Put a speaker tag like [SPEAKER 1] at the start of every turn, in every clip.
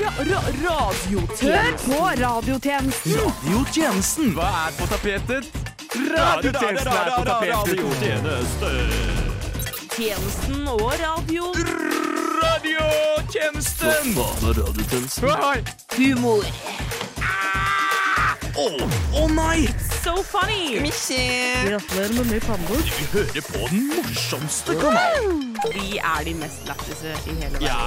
[SPEAKER 1] ra, ra,
[SPEAKER 2] Hør
[SPEAKER 1] radiotjeneste.
[SPEAKER 2] på radiotjenesten!
[SPEAKER 3] Radiotjenesten.
[SPEAKER 4] Hva er på tapetet?
[SPEAKER 3] Radiotjenesten er på tapetet.
[SPEAKER 1] Tjenesten og radio.
[SPEAKER 4] Radiotjenesten!
[SPEAKER 3] Radiotjenesten.
[SPEAKER 4] Oi!
[SPEAKER 1] Humor.
[SPEAKER 3] Å å nei!
[SPEAKER 1] So funny!
[SPEAKER 2] Gratulerer med ny pannebok.
[SPEAKER 3] Vi hører på den morsomste kanalen.
[SPEAKER 1] Vi er de mest lættise i hele verden.
[SPEAKER 3] Ja,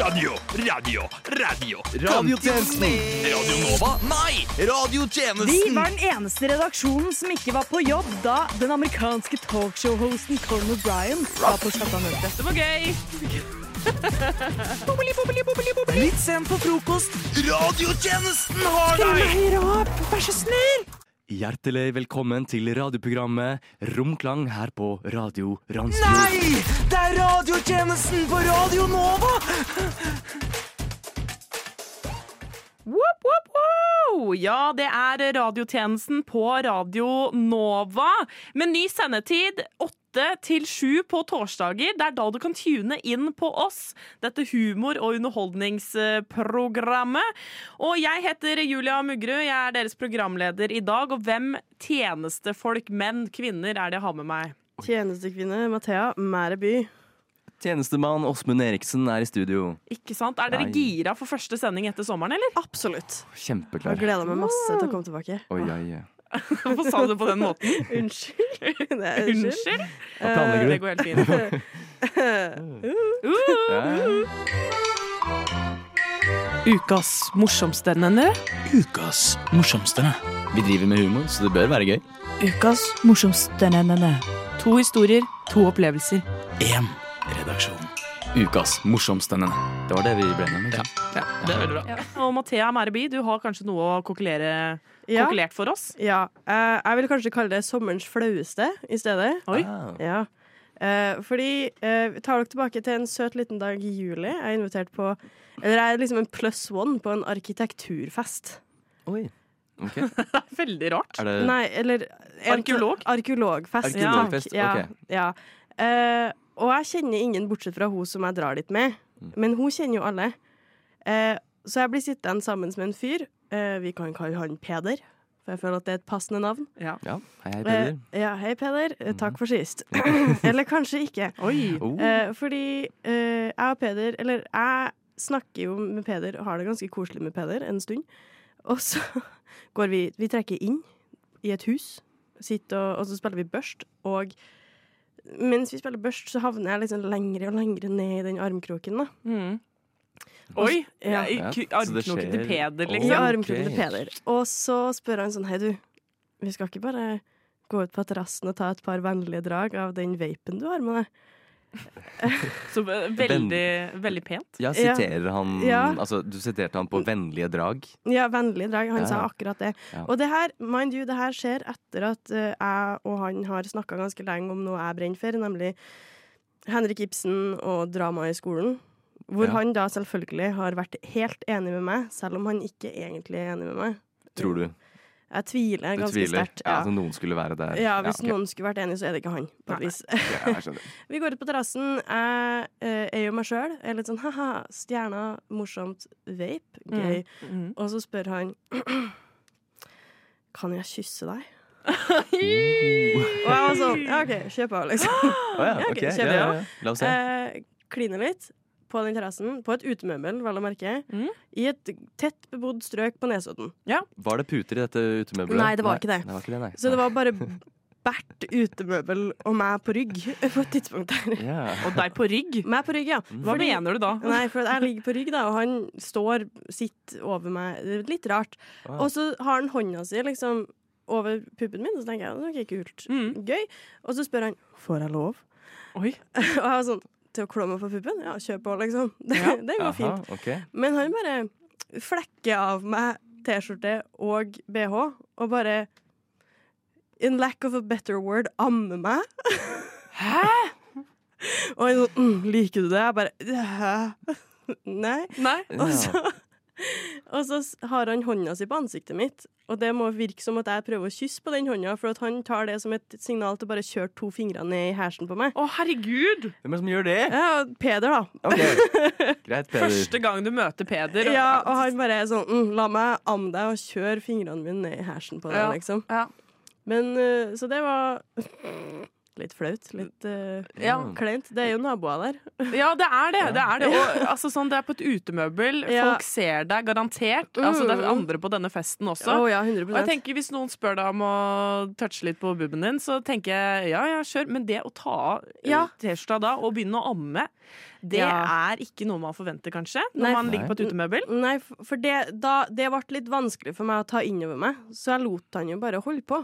[SPEAKER 3] radio, radio, radio.
[SPEAKER 4] Radiotjenesten.
[SPEAKER 3] Radio Nova? Nei!
[SPEAKER 2] Vi
[SPEAKER 3] Radiotjenesten.
[SPEAKER 2] var den eneste redaksjonen som ikke var på jobb da den amerikanske talkshow-hosten Colin O'Brien var på skattamøte.
[SPEAKER 1] Det var gøy.
[SPEAKER 4] Litt sent på frokost.
[SPEAKER 3] Radiotjenesten har
[SPEAKER 2] Kom
[SPEAKER 3] deg!
[SPEAKER 2] høyere opp, vær så snill!
[SPEAKER 4] Hjertelig velkommen til radioprogrammet Romklang her på Radio Ransfjord.
[SPEAKER 3] Nei! Det er radiotjenesten på Radio Nova!
[SPEAKER 1] Woop, woop, woop. Ja, det er radiotjenesten på Radio Nova. Med ny sendetid 8 til 7 på torsdager. Det er da du kan tune inn på oss, dette humor- og underholdningsprogrammet. Og jeg heter Julia Muggerud, jeg er deres programleder i dag. Og hvem tjenestefolk, menn, kvinner, er det jeg har med meg?
[SPEAKER 5] Tjenestekvinne Mathea Mæreby.
[SPEAKER 4] Tjenestemann Åsmund Eriksen er i studio.
[SPEAKER 1] Ikke sant? Er dere
[SPEAKER 4] Nei.
[SPEAKER 1] gira for første sending etter sommeren, eller?
[SPEAKER 5] Absolutt. Jeg
[SPEAKER 4] Kjempeklar.
[SPEAKER 5] gleder Eh, meg masse til å komme tilbake.
[SPEAKER 4] Oi, oi, oi.
[SPEAKER 1] Hvorfor sa du det på den måten?
[SPEAKER 5] Unnskyld. Nei, unnskyld.
[SPEAKER 1] Unnskyld? Eh,
[SPEAKER 4] Hva planlegger
[SPEAKER 1] Det
[SPEAKER 4] du?
[SPEAKER 1] går helt fint. Uh.
[SPEAKER 4] Ja.
[SPEAKER 1] Ukas morsomste, nenne.
[SPEAKER 3] Ukas morsomste.
[SPEAKER 4] Vi driver med humor, så det bør være gøy.
[SPEAKER 1] Ukas morsomste, nenne. To historier, to opplevelser.
[SPEAKER 3] Én redaksjon.
[SPEAKER 4] Ukas morsomste. Det var det vi ble enige om. ikke sant?
[SPEAKER 3] Det er veldig bra.
[SPEAKER 1] Og Mathea Mæreby, du har kanskje noe å kokulere,
[SPEAKER 5] Ja.
[SPEAKER 1] kokulert for oss?
[SPEAKER 5] ja. Eh, Jeg vil kanskje kalle det sommerens flaueste i stedet.
[SPEAKER 1] Oi.
[SPEAKER 4] Ah.
[SPEAKER 5] Ja. Eh, fordi eh, vi tar dere tilbake til en søt liten dag i juli. Jeg er invitert på Eller jeg er liksom en pluss one på en arkitekturfest.
[SPEAKER 4] Oi. Ok.
[SPEAKER 1] Veldig rart.
[SPEAKER 4] Er det
[SPEAKER 5] Nei, eller en-
[SPEAKER 1] Arkeolog?
[SPEAKER 5] Arkeologfest.
[SPEAKER 4] Arkeologfest,
[SPEAKER 5] Ja,
[SPEAKER 4] ok.
[SPEAKER 5] ja. Eh, og jeg kjenner ingen bortsett fra hun som jeg drar dit med.
[SPEAKER 4] Mm.
[SPEAKER 5] Men hun kjenner jo alle. Eh, så jeg blir sittende sammen med en fyr. Eh, vi kan kalle han Peder, for jeg føler at det er et passende navn.
[SPEAKER 4] Ja, hei, hei, Peder. Mm.
[SPEAKER 5] Eh, ja, hei, Peder. Eh, Takk for sist. eller kanskje ikke.
[SPEAKER 1] Oi.
[SPEAKER 4] Oh.
[SPEAKER 5] Eh, fordi eh, jeg og Peder Eller jeg snakker jo med Peder og har det ganske koselig med Peder en stund. Og så går vi Vi trekker inn i et hus, sitter og, og så spiller vi børst. Og mens vi spiller børst, så havner jeg liksom lengre og lengre ned i den armkroken. da
[SPEAKER 1] Mm. Oi!
[SPEAKER 5] Ja.
[SPEAKER 1] I
[SPEAKER 4] Ja,
[SPEAKER 1] k-
[SPEAKER 4] så det
[SPEAKER 1] Armknoken til
[SPEAKER 4] skjer.
[SPEAKER 1] Peder,
[SPEAKER 5] I
[SPEAKER 4] Oi.
[SPEAKER 1] liksom.
[SPEAKER 5] armkroken til Peder. Og så spør han sånn Hei, du, vi skal ikke bare gå ut på terrassen og ta et par vennlige drag av den vapen du har med deg?
[SPEAKER 1] Så ve- veldig, veldig pent.
[SPEAKER 4] Ja, siterer han
[SPEAKER 5] Ja.
[SPEAKER 4] Altså, du siterte han på vennlige drag.
[SPEAKER 5] Ja, vennlige drag. Han
[SPEAKER 4] Ja,
[SPEAKER 5] sa
[SPEAKER 4] ja.
[SPEAKER 5] akkurat det.
[SPEAKER 4] Ja.
[SPEAKER 5] Og det her, mind you, det her skjer etter at eh, jeg og han har snakka ganske lenge om noe jeg brenner for, nemlig Henrik Ibsen og drama i skolen. Hvor
[SPEAKER 4] Ja.
[SPEAKER 5] han da selvfølgelig har vært helt enig med meg, selv om han ikke egentlig er enig med meg.
[SPEAKER 4] Tror du?
[SPEAKER 5] Jeg tviler
[SPEAKER 4] Du
[SPEAKER 5] ganske
[SPEAKER 4] tviler?
[SPEAKER 5] sterkt.
[SPEAKER 4] Ja,
[SPEAKER 5] Ja.
[SPEAKER 4] at noen skulle være der.
[SPEAKER 5] Ja, hvis
[SPEAKER 4] ok.
[SPEAKER 5] noen skulle vært enig, så er det ikke han. på et vis.
[SPEAKER 4] Ja, jeg skjønner.
[SPEAKER 5] Vi går ut på terrassen. Jeg eh, er jo meg sjøl. Er litt sånn ha-ha, stjerna, morsomt, vape, gøy.
[SPEAKER 1] Mm.
[SPEAKER 5] Og så spør han Kan jeg kysse deg? Og jeg var sånn Ja, OK, kjør på, liksom.
[SPEAKER 4] Å ja,
[SPEAKER 5] Ja, ok,
[SPEAKER 4] ok. Ja, ja,
[SPEAKER 5] kjempe, ja.
[SPEAKER 4] ja. La oss se.
[SPEAKER 5] Eh, Kline litt på den terrassen. På et utemøbel, vel å merke.
[SPEAKER 1] Mm.
[SPEAKER 5] I et tett bebodd strøk på Nesodden.
[SPEAKER 4] Var det puter i dette utemøbelet?
[SPEAKER 5] Nei, det var ikke det.
[SPEAKER 4] det, var ikke det nei.
[SPEAKER 5] Så det var bare bært utemøbel og meg på rygg på et tidspunkt der.
[SPEAKER 4] Ja.
[SPEAKER 1] Og deg på rygg.
[SPEAKER 5] Meg på rygg, ja.
[SPEAKER 1] Hva
[SPEAKER 5] Fordi-
[SPEAKER 1] mener du da?
[SPEAKER 5] Nei, for jeg ligger på rygg, da, og han står, sitter over meg. Det er Litt rart.
[SPEAKER 4] Wow.
[SPEAKER 5] Og så har han hånda si liksom over puppen min, og så tenker jeg OK, kult.
[SPEAKER 1] Mm.
[SPEAKER 5] Gøy. Og så spør han får jeg lov.
[SPEAKER 1] Oi.
[SPEAKER 5] og jeg var sånn til å klå meg på puppen? Ja, kjør på, liksom. Det, det går fint.
[SPEAKER 4] Aha, ok.
[SPEAKER 5] Men han bare flekker av meg T-skjorte og BH, og bare In lack of a better word ammer meg. Hæ? og han sånn mm, Liker du det? Jeg bare Hæ? Nei.
[SPEAKER 1] Nei.
[SPEAKER 4] Ja.
[SPEAKER 5] Og så, Og så s- har han hånda si på ansiktet mitt, og det må virke som at jeg prøver å kysse på den hånda, for at han tar det som et signal til å bare kjøre to fingre ned i hersen på meg.
[SPEAKER 1] Å, herregud!
[SPEAKER 4] Hvem er det som gjør det?
[SPEAKER 5] Ja, og Peder, da.
[SPEAKER 4] Ok, Greit, Peder.
[SPEAKER 1] Første gang du møter Peder.
[SPEAKER 5] Ja, og han bare er sånn mm, La meg amme deg og kjøre fingrene mine ned i hersen på deg,
[SPEAKER 1] Ja,
[SPEAKER 5] liksom.
[SPEAKER 1] ja.
[SPEAKER 5] Men eh, Så det var litt flaut. Litt eh,
[SPEAKER 1] Ja.
[SPEAKER 5] kleint. Det er jo naboer der.
[SPEAKER 1] Ja, det er det. Det er, det. Og, altså, sånn, det er på et utemøbel.
[SPEAKER 5] Ja.
[SPEAKER 1] Folk ser deg garantert. Altså, det er andre på denne festen også.
[SPEAKER 5] Å ja, 100
[SPEAKER 1] Og jeg tenker Hvis noen spør deg om å touche litt på bubben din, så tenker jeg ja, ja, kjør. Men det å ta av eh,
[SPEAKER 5] Ja.
[SPEAKER 1] T-skjorta da og begynne å amme, det
[SPEAKER 5] Ja.
[SPEAKER 1] er ikke noe man forventer, kanskje, når
[SPEAKER 5] Nei.
[SPEAKER 1] man ligger på et utemøbel.
[SPEAKER 5] Nei, f- for det, da, det ble litt vanskelig for meg å ta innover meg, så jeg lot han jo bare holde på.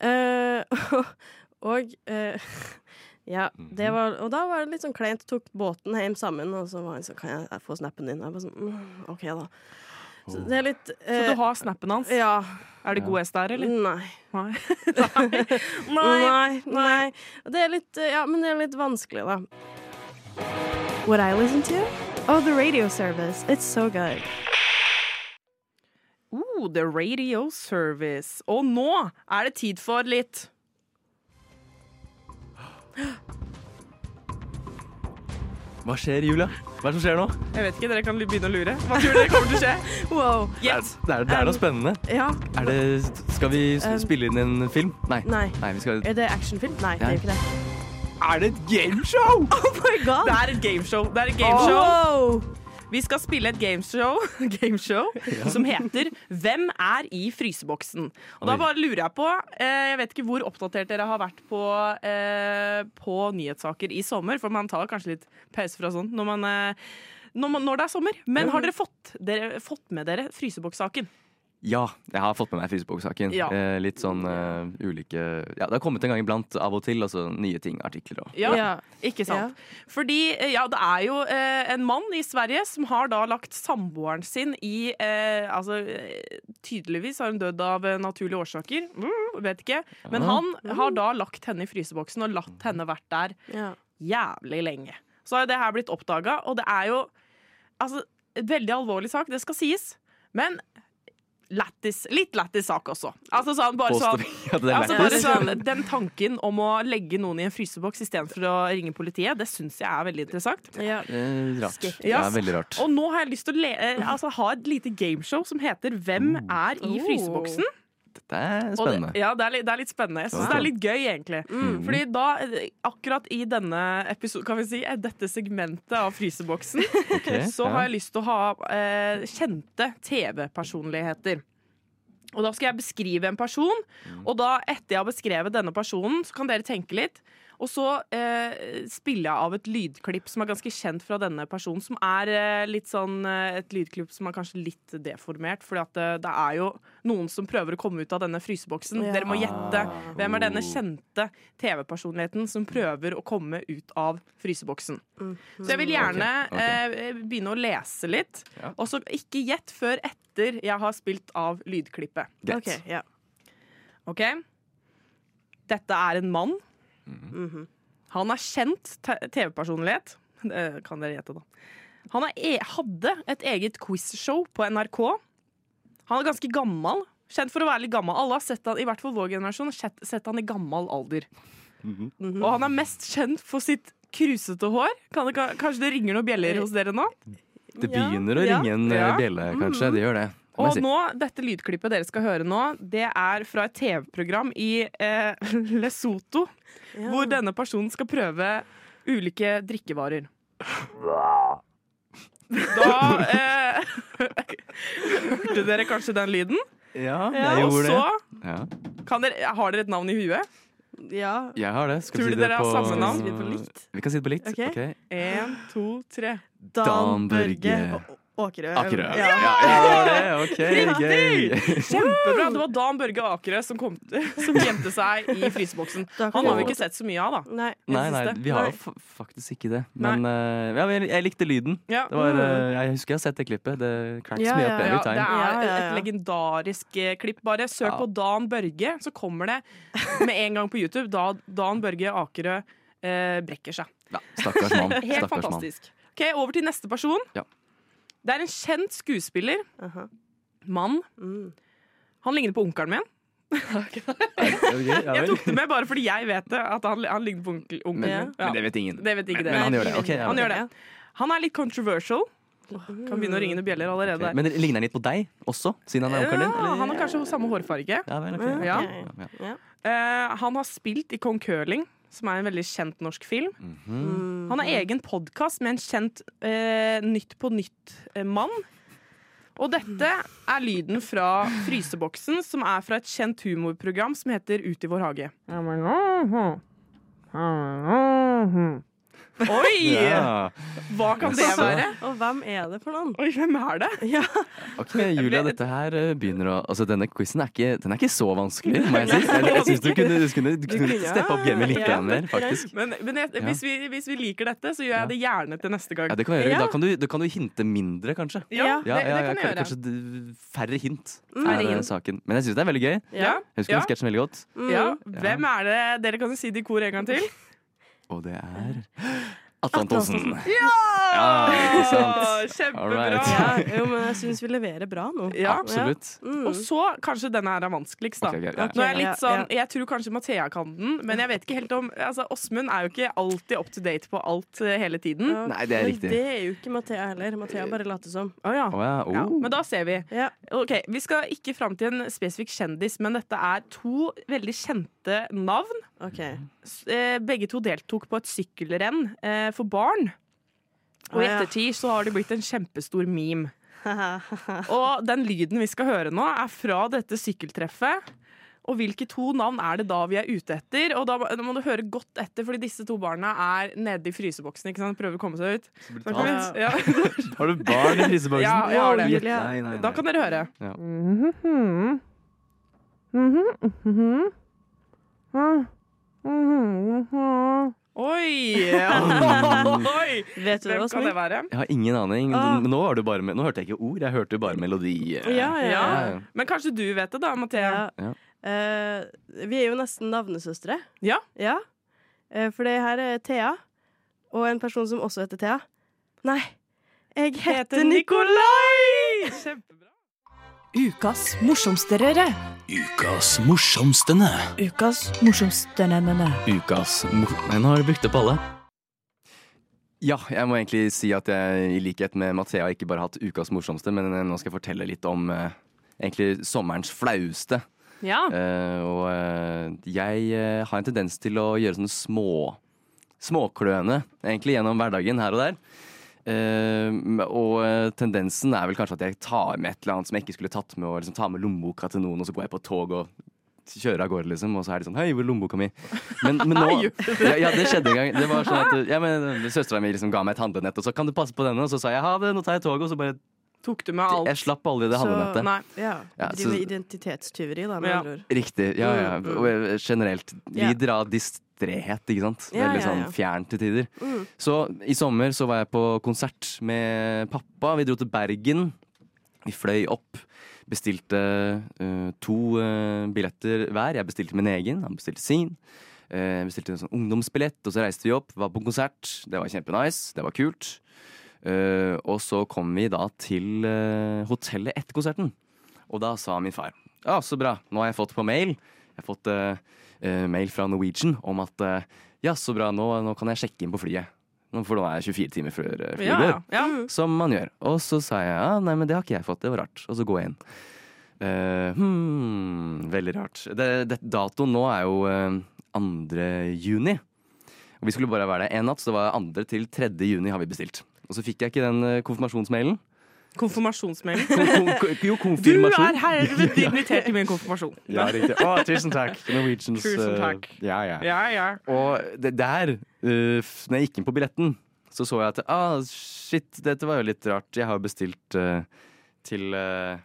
[SPEAKER 5] Eh, og eh, Ja, det
[SPEAKER 1] Mhm.
[SPEAKER 5] var Og da var det litt sånn kleint. Tok båten hjem sammen, og så var han sånn Kan jeg- jeg få snappen din? Jeg bare sånn «Mm, OK, da. Så det er litt
[SPEAKER 1] Så du
[SPEAKER 5] eh,
[SPEAKER 1] har snappen hans.
[SPEAKER 5] Ja.
[SPEAKER 1] Er det god S der, eller?
[SPEAKER 5] Nei.
[SPEAKER 1] Nei.
[SPEAKER 5] Nei, nei. Det er litt, eh, ja, men det er litt vanskelig, da. What I listen to? Oh, the radio service. It's so good.
[SPEAKER 1] Oh, the radio service. Og nå er det tid for litt
[SPEAKER 4] Hva skjer, Julia? Hva er det som skjer nå?
[SPEAKER 1] Jeg vet ikke, dere kan begynne å lure. Hva tror dere kommer til å skje?
[SPEAKER 5] Wow.
[SPEAKER 4] Det er,
[SPEAKER 1] Gjett!
[SPEAKER 4] det er, det er noe
[SPEAKER 1] Um,
[SPEAKER 4] spennende.
[SPEAKER 5] Ja.
[SPEAKER 4] Er det, skal vi s-
[SPEAKER 5] Um,
[SPEAKER 4] spille inn en film? Nei.
[SPEAKER 5] Nei.
[SPEAKER 4] vi skal,
[SPEAKER 5] Er det actionfilm? Nei, det er jo ikke det.
[SPEAKER 4] er det et gameshow?
[SPEAKER 5] Oh my god!
[SPEAKER 1] Det er et gameshow. Det er et gameshow.
[SPEAKER 5] Wow!
[SPEAKER 1] Vi skal spille et gameshow, gameshow som heter Hvem er i fryseboksen? Og da
[SPEAKER 4] Oi.
[SPEAKER 1] bare lurer jeg på eh, Jeg vet ikke hvor oppdatert dere har vært på, eh, på nyhetssaker i sommer, for man tar kanskje litt pause fra sånt når, man, eh, når, man, når det er sommer. Men har dere fått, dere fått med dere frysebokssaken?
[SPEAKER 4] Ja, jeg har fått med meg fryseboksaken.
[SPEAKER 1] Ja.
[SPEAKER 4] Eh, litt sånn eh, ulike Ja, det har kommet en gang iblant av og til. Altså nye ting, artikler og
[SPEAKER 1] Ja,
[SPEAKER 5] Ja.
[SPEAKER 1] ikke sant? Fordi eh, ja, det er jo eh, en mann i Sverige som har da lagt samboeren sin i eh, Altså, eh, tydeligvis har hun dødd av eh, naturlige årsaker. Mm, vet ikke. Men han har da lagt henne i fryseboksen og latt henne vært der
[SPEAKER 5] Ja.
[SPEAKER 1] jævlig lenge. Så har jo det her blitt oppdaga, og det er jo altså, et veldig alvorlig sak, det skal sies. Men lættis. Litt lættis sak også. Altså sånn, bare
[SPEAKER 4] Påstår
[SPEAKER 1] sånn
[SPEAKER 4] vi at det er
[SPEAKER 1] Altså
[SPEAKER 4] lættis?
[SPEAKER 1] bare sånn, Den tanken om å legge noen i en fryseboks istedenfor å ringe politiet, det syns jeg er veldig interessant.
[SPEAKER 5] ja.
[SPEAKER 4] Eh, rart.
[SPEAKER 5] Skeptisk.
[SPEAKER 4] Ja, veldig rart.
[SPEAKER 1] Og nå har jeg lyst til å le eh, altså, ha et lite gameshow som heter Hvem er i
[SPEAKER 5] Oh.
[SPEAKER 1] fryseboksen?
[SPEAKER 4] Det er
[SPEAKER 1] Og
[SPEAKER 4] spennende. Mm.
[SPEAKER 1] Det, ja, det er, litt, det er litt spennende. Jeg syns
[SPEAKER 4] Ja.
[SPEAKER 1] det er litt gøy, egentlig. Fordi da, eh, akkurat i denne episoden, kan vi si, eh, dette segmentet av fryseboksen,
[SPEAKER 4] Ok,
[SPEAKER 1] så
[SPEAKER 4] ja.
[SPEAKER 1] har jeg lyst til å ha eh, kjente TV-personligheter. Og da skal jeg beskrive en person,
[SPEAKER 4] Mm.
[SPEAKER 1] og da etter jeg har beskrevet denne personen, så kan dere tenke litt. Og så eh, spiller jeg av et lydklipp som er ganske kjent fra denne personen. Som er eh, litt sånn eh, et lydklipp som er kanskje litt deformert. For det, det er jo noen som prøver å komme ut av denne fryseboksen.
[SPEAKER 5] Ja.
[SPEAKER 1] Dere må gjette
[SPEAKER 4] Ah.
[SPEAKER 1] hvem er denne kjente TV-personligheten som prøver å komme ut av fryseboksen. Så jeg vil gjerne
[SPEAKER 4] Ok,
[SPEAKER 1] Eh, begynne å lese litt.
[SPEAKER 4] Ja.
[SPEAKER 1] Og så ikke gjett før etter jeg har spilt av lydklippet.
[SPEAKER 4] Greit.
[SPEAKER 5] OK. Ja.
[SPEAKER 1] Ok? Dette er en mann. Han er kjent te- TV-personlighet. Det kan dere gjette, da. Han er e hadde et eget quizshow på NRK. Han er ganske gammel. Kjent for å være litt gammel. Alle har sett han, i hvert fall vår generasjon, har sett, sett han i gammel alder. Og han er mest kjent for sitt krusete hår. Kan det, ka- kanskje det ringer noen bjeller hos dere nå?
[SPEAKER 4] Det begynner å
[SPEAKER 5] Ja,
[SPEAKER 4] ringe en eh,
[SPEAKER 1] ja. Mm.
[SPEAKER 4] bjelle, kanskje. Det gjør det. Det må jeg
[SPEAKER 1] Og
[SPEAKER 4] si.
[SPEAKER 1] nå, dette lydklippet dere skal høre nå, det er fra et TV-program i eh, Lesotho, hvor denne personen skal prøve ulike drikkevarer. Da eh, hørte dere kanskje den lyden?
[SPEAKER 4] Ja,
[SPEAKER 1] Ja,
[SPEAKER 4] jeg
[SPEAKER 1] og
[SPEAKER 4] gjorde
[SPEAKER 1] så
[SPEAKER 4] det. Ja.
[SPEAKER 1] kan dere, har dere et navn i huet?
[SPEAKER 5] ja.
[SPEAKER 4] Jeg har det. Skal
[SPEAKER 1] Tror
[SPEAKER 4] vi si
[SPEAKER 1] du
[SPEAKER 4] det
[SPEAKER 1] dere har
[SPEAKER 4] på
[SPEAKER 1] samme navn?
[SPEAKER 5] Skal vi si det på likt?
[SPEAKER 4] Vi kan si det på likt.
[SPEAKER 5] Ok.
[SPEAKER 4] Ok.
[SPEAKER 1] Én, to, tre.
[SPEAKER 4] Dan Børge.
[SPEAKER 5] og- og Åkerø.
[SPEAKER 4] Akerø.
[SPEAKER 5] Ja.
[SPEAKER 4] ja, det, ok, gøy.
[SPEAKER 1] Kjempebra! Det var Dan Børge Akerø som, kom, som gjemte seg i fryseboksen.
[SPEAKER 5] Da kan
[SPEAKER 1] Han har vi
[SPEAKER 5] jeg-
[SPEAKER 1] ikke sett så mye av, da.
[SPEAKER 5] Nei.
[SPEAKER 4] Nei, nei,
[SPEAKER 1] siste.
[SPEAKER 4] vi har
[SPEAKER 5] Nei.
[SPEAKER 4] jo fa- faktisk ikke det. Men eh, ja, men jeg, jeg likte lyden.
[SPEAKER 1] Ja.
[SPEAKER 4] Det var, eh, jeg husker jeg har sett det klippet. Det cracks
[SPEAKER 5] Ja,
[SPEAKER 4] me
[SPEAKER 5] ja,
[SPEAKER 1] Mm.
[SPEAKER 4] up
[SPEAKER 1] Ja,
[SPEAKER 4] every
[SPEAKER 1] det
[SPEAKER 4] time.
[SPEAKER 1] er
[SPEAKER 5] Ja, ja, ja.
[SPEAKER 1] et legendarisk eh, klipp. Bare søk
[SPEAKER 4] Ja.
[SPEAKER 1] på Dan Børge, så kommer det med en gang på YouTube. Da Dan Børge Akerø eh, brekker seg.
[SPEAKER 4] Ja, stakkars mann.
[SPEAKER 1] Helt
[SPEAKER 4] Stakkars mann.
[SPEAKER 1] fantastisk. Ok, Over til neste person.
[SPEAKER 4] Ja.
[SPEAKER 1] Det er en kjent skuespiller.
[SPEAKER 5] Aha.
[SPEAKER 1] Mann.
[SPEAKER 5] Mm.
[SPEAKER 1] Han ligner på onkelen min. Jeg tok det med bare fordi jeg vet det, at han, han ligner på onkel, onkelen
[SPEAKER 5] Ja.
[SPEAKER 1] min. Ja.
[SPEAKER 4] Men det vet ingen.
[SPEAKER 1] Det vet ikke
[SPEAKER 4] Men han
[SPEAKER 1] dere.
[SPEAKER 4] gjør det. ok, ja,
[SPEAKER 1] Han
[SPEAKER 4] ok.
[SPEAKER 1] gjør det. Han er litt controversial. Kan begynne å ringe noen bjeller allerede.
[SPEAKER 4] Ok, Men ligner han litt på deg også, siden han er onkelen din?
[SPEAKER 1] Ja,
[SPEAKER 4] eller?
[SPEAKER 1] han har kanskje samme hårfarge.
[SPEAKER 4] Ja, vel, ok.
[SPEAKER 5] Ja.
[SPEAKER 1] Ja.
[SPEAKER 4] Ja.
[SPEAKER 1] Eh, han har spilt i Kong Curling, som er en veldig kjent norsk film.
[SPEAKER 4] Mhm.
[SPEAKER 1] Han har egen podkast med en kjent eh, Nytt på nytt-mann. Og dette er lyden fra fryseboksen, som er fra et kjent humorprogram som heter Ut i vår hage. Oi!
[SPEAKER 4] Ja.
[SPEAKER 1] Hva kan det
[SPEAKER 4] Jaså.
[SPEAKER 1] være?
[SPEAKER 5] Og hvem er det for noen?
[SPEAKER 1] Oi, hvem er det?
[SPEAKER 4] Ok, Julia, dette her eh, begynner å Altså, denne quizen er ikke, den er ikke så vanskelig, må jeg si. Eller, jeg syns du kunne, du kunne, du kunne
[SPEAKER 5] kunne,
[SPEAKER 4] steppe opp gamet litt
[SPEAKER 5] ja.
[SPEAKER 4] grann mer, faktisk.
[SPEAKER 1] Men, men jeg, hvis, vi, hvis vi liker dette, så gjør jeg det gjerne til neste gang.
[SPEAKER 4] Ja, det kan jeg gjøre.
[SPEAKER 5] Ja.
[SPEAKER 4] Da kan du, da kan du hinte mindre, kanskje.
[SPEAKER 1] Ja, det,
[SPEAKER 4] Ja, ja,
[SPEAKER 1] det
[SPEAKER 4] ja,
[SPEAKER 1] kan jeg gjøre. Mm.
[SPEAKER 4] Kanskje d- færre hint
[SPEAKER 1] Færre
[SPEAKER 4] er eh,
[SPEAKER 1] hint.
[SPEAKER 4] saken. Men jeg syns det er veldig gøy.
[SPEAKER 1] Ja.
[SPEAKER 4] Jeg husker
[SPEAKER 1] Ja.
[SPEAKER 4] den sketsjen veldig godt.
[SPEAKER 1] Ja,
[SPEAKER 4] Mm.
[SPEAKER 1] hvem er det Dere kan jo si det i kor en gang til.
[SPEAKER 4] Og det er Atle Antonsen.
[SPEAKER 1] Ja!
[SPEAKER 4] ikke sant.
[SPEAKER 1] Kjempebra!
[SPEAKER 4] All right.
[SPEAKER 5] Ja, jo, men jeg syns vi leverer bra nå. Mm.
[SPEAKER 1] Ja.
[SPEAKER 4] Absolutt.
[SPEAKER 1] Og så kanskje denne her er vanskeligst, da.
[SPEAKER 4] Ok, ok, ja, ja.
[SPEAKER 1] Nå er jeg, litt
[SPEAKER 5] Ja,
[SPEAKER 1] sånn, jeg tror kanskje Mathea kan den, men jeg vet ikke helt om altså, Åsmund er jo ikke alltid up to date på alt eh, hele tiden.
[SPEAKER 5] Ja,
[SPEAKER 4] Nei, det er riktig.
[SPEAKER 5] Men det er jo ikke Mathea heller. Mathea bare later som.
[SPEAKER 1] Å ja.
[SPEAKER 4] Å ja.
[SPEAKER 1] Ja,
[SPEAKER 4] oh.
[SPEAKER 1] men da ser vi.
[SPEAKER 5] Ja.
[SPEAKER 1] Ok, Vi skal ikke fram til en spesifikk kjendis, men dette er to veldig kjente navn.
[SPEAKER 5] OK.
[SPEAKER 1] S- eh, Begge to deltok på et sykkelrenn eh, for barn. Og i
[SPEAKER 5] Å, ja.
[SPEAKER 1] ettertid så har det blitt en kjempestor meme. Og den lyden vi skal høre nå, er fra dette sykkeltreffet. Og hvilke to navn er det da vi er ute etter? Og da må- da må du høre godt etter, fordi disse to barna er nede i fryseboksen. ikke sant? Prøver å komme seg ut. Så kom
[SPEAKER 5] tatt.
[SPEAKER 1] ut. Ja.
[SPEAKER 4] Har du barn i fryseboksen?
[SPEAKER 1] Ja, jeg har det.
[SPEAKER 4] Gitt- Nei, nei,
[SPEAKER 1] Da kan dere høre.
[SPEAKER 4] Ja.
[SPEAKER 1] Oi! Oi!
[SPEAKER 5] Vet du det,
[SPEAKER 1] Hvem kan det
[SPEAKER 5] Åsmund?
[SPEAKER 1] være?
[SPEAKER 4] Jeg har ingen aning.
[SPEAKER 5] Ah.
[SPEAKER 4] Nå, var det bare, me- nå hørte jeg ikke ord, jeg hørte bare melodi. eh.
[SPEAKER 5] Ja, ja.
[SPEAKER 1] Ja.
[SPEAKER 5] ja.
[SPEAKER 4] Ja, ja.
[SPEAKER 1] Men kanskje du vet det, da, Mathea.
[SPEAKER 4] Ja.
[SPEAKER 5] Eh, vi er jo nesten navnesøstre.
[SPEAKER 1] Ja.
[SPEAKER 5] Ja. Eh, for det her er Thea, og en person som også heter Thea. Nei, jeg heter Nikolai!
[SPEAKER 1] Kjempebra.
[SPEAKER 2] Ukas morsomsterere.
[SPEAKER 4] Ukas morsomstene.
[SPEAKER 2] Ukas morsomsterere.
[SPEAKER 4] Ukas mor... Nei, nå har du brukt opp alle. Ja, jeg må egentlig si at jeg i likhet med Mathea ikke bare har hatt ukas morsomste, men eh, nå skal jeg fortelle litt om eh, egentlig sommerens flaueste.
[SPEAKER 1] Ja.
[SPEAKER 4] Eh, og eh, jeg eh, har en tendens til å gjøre sånne små småkløne, egentlig, gjennom hverdagen her og der. Eh, og eh, tendensen er vel kanskje at jeg tar med et eller annet som jeg ikke skulle tatt med, og liksom tar med lommeboka til noen, og så går jeg på tog og kjører av gårde, liksom, og så er de sånn 'Hei, hvor er lommeboka mi?' Men, men nå ja, ja, det skjedde en gang. Det var sånn at ja, men Søstera mi liksom ga meg et handlenett, og så 'Kan du passe på denne?' Og så sa jeg 'Ha det, nå tar jeg toget', og så bare
[SPEAKER 1] Tok du med alt?
[SPEAKER 4] Jeg slapp aldri det
[SPEAKER 5] Så-
[SPEAKER 4] handlenettet.
[SPEAKER 1] Nei.
[SPEAKER 5] Ja,
[SPEAKER 4] Ja,
[SPEAKER 5] vi driver
[SPEAKER 4] så-
[SPEAKER 5] identitetstyveri, da, med
[SPEAKER 1] Ja.
[SPEAKER 5] andre ord.
[SPEAKER 4] Riktig. Ja, ja.
[SPEAKER 5] Mm, mm.
[SPEAKER 4] Og eh, generelt
[SPEAKER 5] Ja.
[SPEAKER 4] lider av distréhet, ikke sant.
[SPEAKER 5] Ja,
[SPEAKER 4] Veldig
[SPEAKER 5] ja,
[SPEAKER 4] sånn
[SPEAKER 5] ja.
[SPEAKER 4] fjern til tider.
[SPEAKER 5] Mm.
[SPEAKER 4] Så i sommer så var jeg på konsert med pappa. Vi dro til Bergen. Vi fløy opp. Bestilte eh, to eh, billetter hver. Jeg bestilte min egen, han bestilte sin. Eh, jeg bestilte en sånn ungdomsbillett, og så reiste vi opp, var på konsert. Det var kjempenice, det var kult. Eh, og så kom vi da til eh, hotellet etter konserten. Og da sa min far Ja, så bra. Nå har jeg fått på mail. Jeg har fått eh, eh, mail fra Norwegian om at eh, ja, så bra, nå, nå kan jeg sjekke inn på flyet. Nå- For nå er jeg 24 timer før eh, flyet
[SPEAKER 1] Ja,
[SPEAKER 4] går.
[SPEAKER 1] ja. ja.
[SPEAKER 4] Som man gjør. Og så sa jeg ja, nei, men det har ikke jeg fått, det var rart. Og så går jeg inn. Eh, hmm, veldig rart. Det, det, datoen nå er jo eh, 2. juni. Og vi skulle bare være der én natt, så det var 2. til 3. juni har vi bestilt. Og så fikk jeg ikke den eh, konfirmasjonsmailen.
[SPEAKER 1] Konfirmasjonsmelding.
[SPEAKER 4] Kon, kon, kon, jo,
[SPEAKER 1] Du
[SPEAKER 4] konfirmasjon.
[SPEAKER 1] er herved invitert til min konfirmasjon.
[SPEAKER 4] Ja, riktig. Å, tusen takk. Norwegians
[SPEAKER 1] Tusen
[SPEAKER 4] eh,
[SPEAKER 1] takk.
[SPEAKER 4] ja, ja.
[SPEAKER 1] Ja, ja.
[SPEAKER 4] Og det der, eh, f- når jeg gikk inn på billetten, så så jeg at ah, shit, dette var jo litt rart. Jeg har jo bestilt eh, til eh,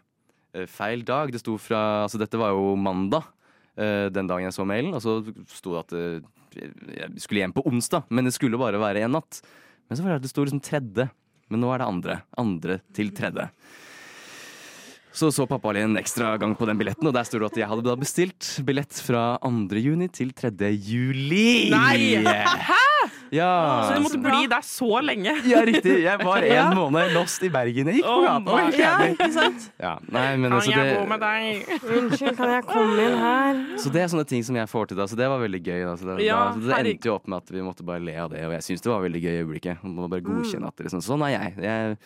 [SPEAKER 4] eh, feil dag. Det sto fra Altså, dette var jo mandag eh, den dagen jeg så mailen, og så sto det at eh, jeg skulle hjem på onsdag, men det skulle bare være en natt. Men så var det at det sto liksom tredje. Men nå er det andre. Andre til tredje. Så så pappa Ali en ekstra gang på den billetten, og der står det at jeg hadde da bestilt billett fra 2. juni til 3. juli.
[SPEAKER 1] Nei!
[SPEAKER 4] Ja.
[SPEAKER 1] Så du måtte bli der så lenge.
[SPEAKER 4] ja, riktig. Jeg var en
[SPEAKER 5] Ja.
[SPEAKER 4] måned lost i Bergen. Jeg gikk på
[SPEAKER 1] Oh
[SPEAKER 4] gata.
[SPEAKER 1] my
[SPEAKER 4] helt ærlig.
[SPEAKER 5] ikke sant?
[SPEAKER 4] Ja, nei, men
[SPEAKER 1] Kan
[SPEAKER 4] altså,
[SPEAKER 1] jeg bo med
[SPEAKER 4] det,
[SPEAKER 1] deg?
[SPEAKER 5] Unnskyld, kan jeg komme inn her?
[SPEAKER 4] så det er sånne ting som jeg får til da. Så det var veldig gøy. Da. Så det,
[SPEAKER 1] Ja,
[SPEAKER 4] da, så det
[SPEAKER 1] herregud.
[SPEAKER 4] endte jo opp med at vi måtte bare le av det, og jeg syns det var veldig gøy i øyeblikket. Man må
[SPEAKER 1] Mm.
[SPEAKER 4] bare godkjenne at det liksom, Sånn er jeg. jeg.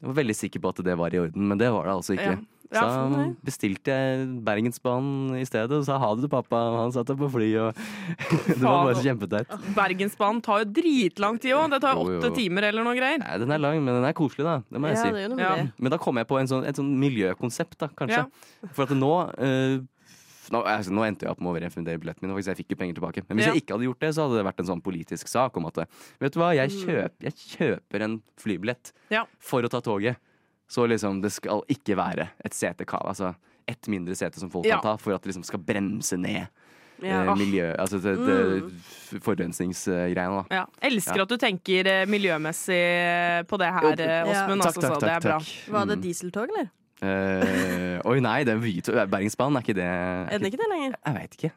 [SPEAKER 4] Jeg var veldig sikker på at det var i orden, men det var det altså ikke.
[SPEAKER 1] Ja. Ja,
[SPEAKER 4] så
[SPEAKER 1] sånn er
[SPEAKER 4] bestilte jeg Bergensbanen i stedet og sa ha det til pappa. og Han satt deg på fly og
[SPEAKER 1] Faen.
[SPEAKER 4] Det var
[SPEAKER 1] altså.
[SPEAKER 4] bare så kjempeteit.
[SPEAKER 1] Bergensbanen tar jo dritlang tid òg. Det tar jo
[SPEAKER 4] Jo, jo.
[SPEAKER 1] åtte timer eller noe greier.
[SPEAKER 4] Nei, Den er lang, men den er koselig, da. Det må jeg
[SPEAKER 5] Ja,
[SPEAKER 4] si.
[SPEAKER 5] det er jo noe
[SPEAKER 1] Ja.
[SPEAKER 5] med det.
[SPEAKER 4] Men da kom jeg på en sånn, et sånn miljøkonsept, da, kanskje. For at nå, eh, nå altså, Nå endte jeg opp med å overrefundere billetten min, og faktisk jeg fikk jo penger tilbake. Men hvis
[SPEAKER 1] Ja.
[SPEAKER 4] jeg ikke hadde gjort det, så hadde det vært en sånn politisk sak om at Vet du hva, jeg, kjøp, jeg kjøper en flybillett
[SPEAKER 1] Mm. Ja.
[SPEAKER 4] for å ta toget. Så liksom, det skal ikke være et sete ka- Altså ett mindre sete som folk
[SPEAKER 1] Ja.
[SPEAKER 4] kan ta, for at det liksom skal bremse ned
[SPEAKER 5] Ja.
[SPEAKER 4] eh, miljø... Altså det,
[SPEAKER 1] Mm.
[SPEAKER 4] det forurensningsgreiene, da.
[SPEAKER 1] Ja. Elsker
[SPEAKER 4] Ja.
[SPEAKER 1] at du tenker eh, miljømessig på det her,
[SPEAKER 4] Jo,
[SPEAKER 1] eh,
[SPEAKER 5] ja.
[SPEAKER 1] Åsmund.
[SPEAKER 4] Takk,
[SPEAKER 1] Altså,
[SPEAKER 4] takk,
[SPEAKER 1] så det
[SPEAKER 4] takk.
[SPEAKER 1] er bra.
[SPEAKER 4] takk.
[SPEAKER 5] Var det
[SPEAKER 4] Mm.
[SPEAKER 5] dieseltog, eller?
[SPEAKER 4] Eh, oi, nei, det er hvit- Bergensbanen, er ikke det er
[SPEAKER 5] Er den ikke det lenger?
[SPEAKER 4] Jeg veit ikke.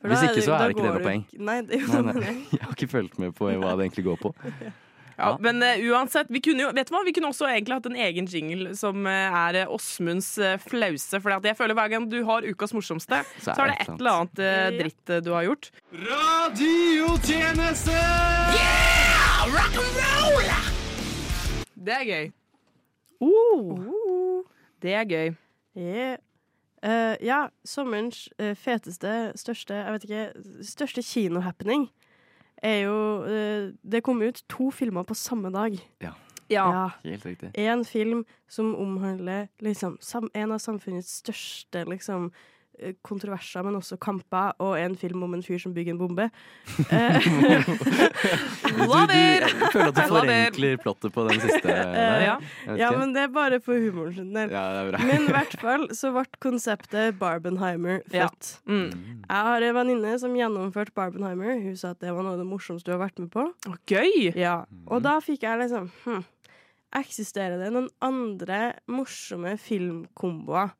[SPEAKER 5] For
[SPEAKER 4] Hvis
[SPEAKER 5] da er
[SPEAKER 4] ikke, så
[SPEAKER 5] da
[SPEAKER 4] er det ikke det
[SPEAKER 5] går
[SPEAKER 4] noe
[SPEAKER 5] du
[SPEAKER 4] poeng.
[SPEAKER 5] ikke- Nei, det er jo
[SPEAKER 4] Nei,
[SPEAKER 5] sånn det
[SPEAKER 4] nei.
[SPEAKER 5] er.
[SPEAKER 4] Jeg har ikke fulgt med på hva det egentlig går på.
[SPEAKER 1] Ja,
[SPEAKER 4] Ja.
[SPEAKER 1] men eh, uansett, vi kunne jo Vet du hva, vi kunne også egentlig hatt en egen jingle som eh, er eh, Åsmunds eh, flause. For jeg føler hver gang du har ukas morsomste, så
[SPEAKER 4] er
[SPEAKER 1] er det
[SPEAKER 4] det
[SPEAKER 1] et
[SPEAKER 4] sant.
[SPEAKER 1] eller annet eh, dritt eh, du har gjort. Det er gøy. Uh. det er gøy.
[SPEAKER 5] Ja. Eh, ja, sommerens eh, feteste, største, jeg vet ikke, største kinohappening er jo eh, Det kom ut to filmer på samme dag.
[SPEAKER 1] Ja.
[SPEAKER 4] Helt riktig.
[SPEAKER 5] En film som omhandler liksom, sam, en av samfunnets største liksom, eh, kontroverser, men også kamper, og en film om en fyr som bygger en bombe.
[SPEAKER 4] Du, du, eh, jeg føler at du
[SPEAKER 1] Love it.
[SPEAKER 4] forenkler plottet på den siste. Der.
[SPEAKER 1] Ja.
[SPEAKER 4] Jeg vet
[SPEAKER 5] Eh, Ja,
[SPEAKER 4] ikke.
[SPEAKER 5] men det er bare for humoren sin del.
[SPEAKER 4] ja, det er bra.
[SPEAKER 5] Men i hvert fall så ble konseptet Barbenheimer
[SPEAKER 1] Ja.
[SPEAKER 5] født.
[SPEAKER 1] Mm.
[SPEAKER 5] Jeg har en venninne som gjennomførte Barbenheimer. Hun sa at det var noe av det morsomste du har vært med på.
[SPEAKER 1] Å, Gøy!
[SPEAKER 5] Ja. Og da fikk jeg liksom hm, Eksisterer det noen andre morsomme filmkomboer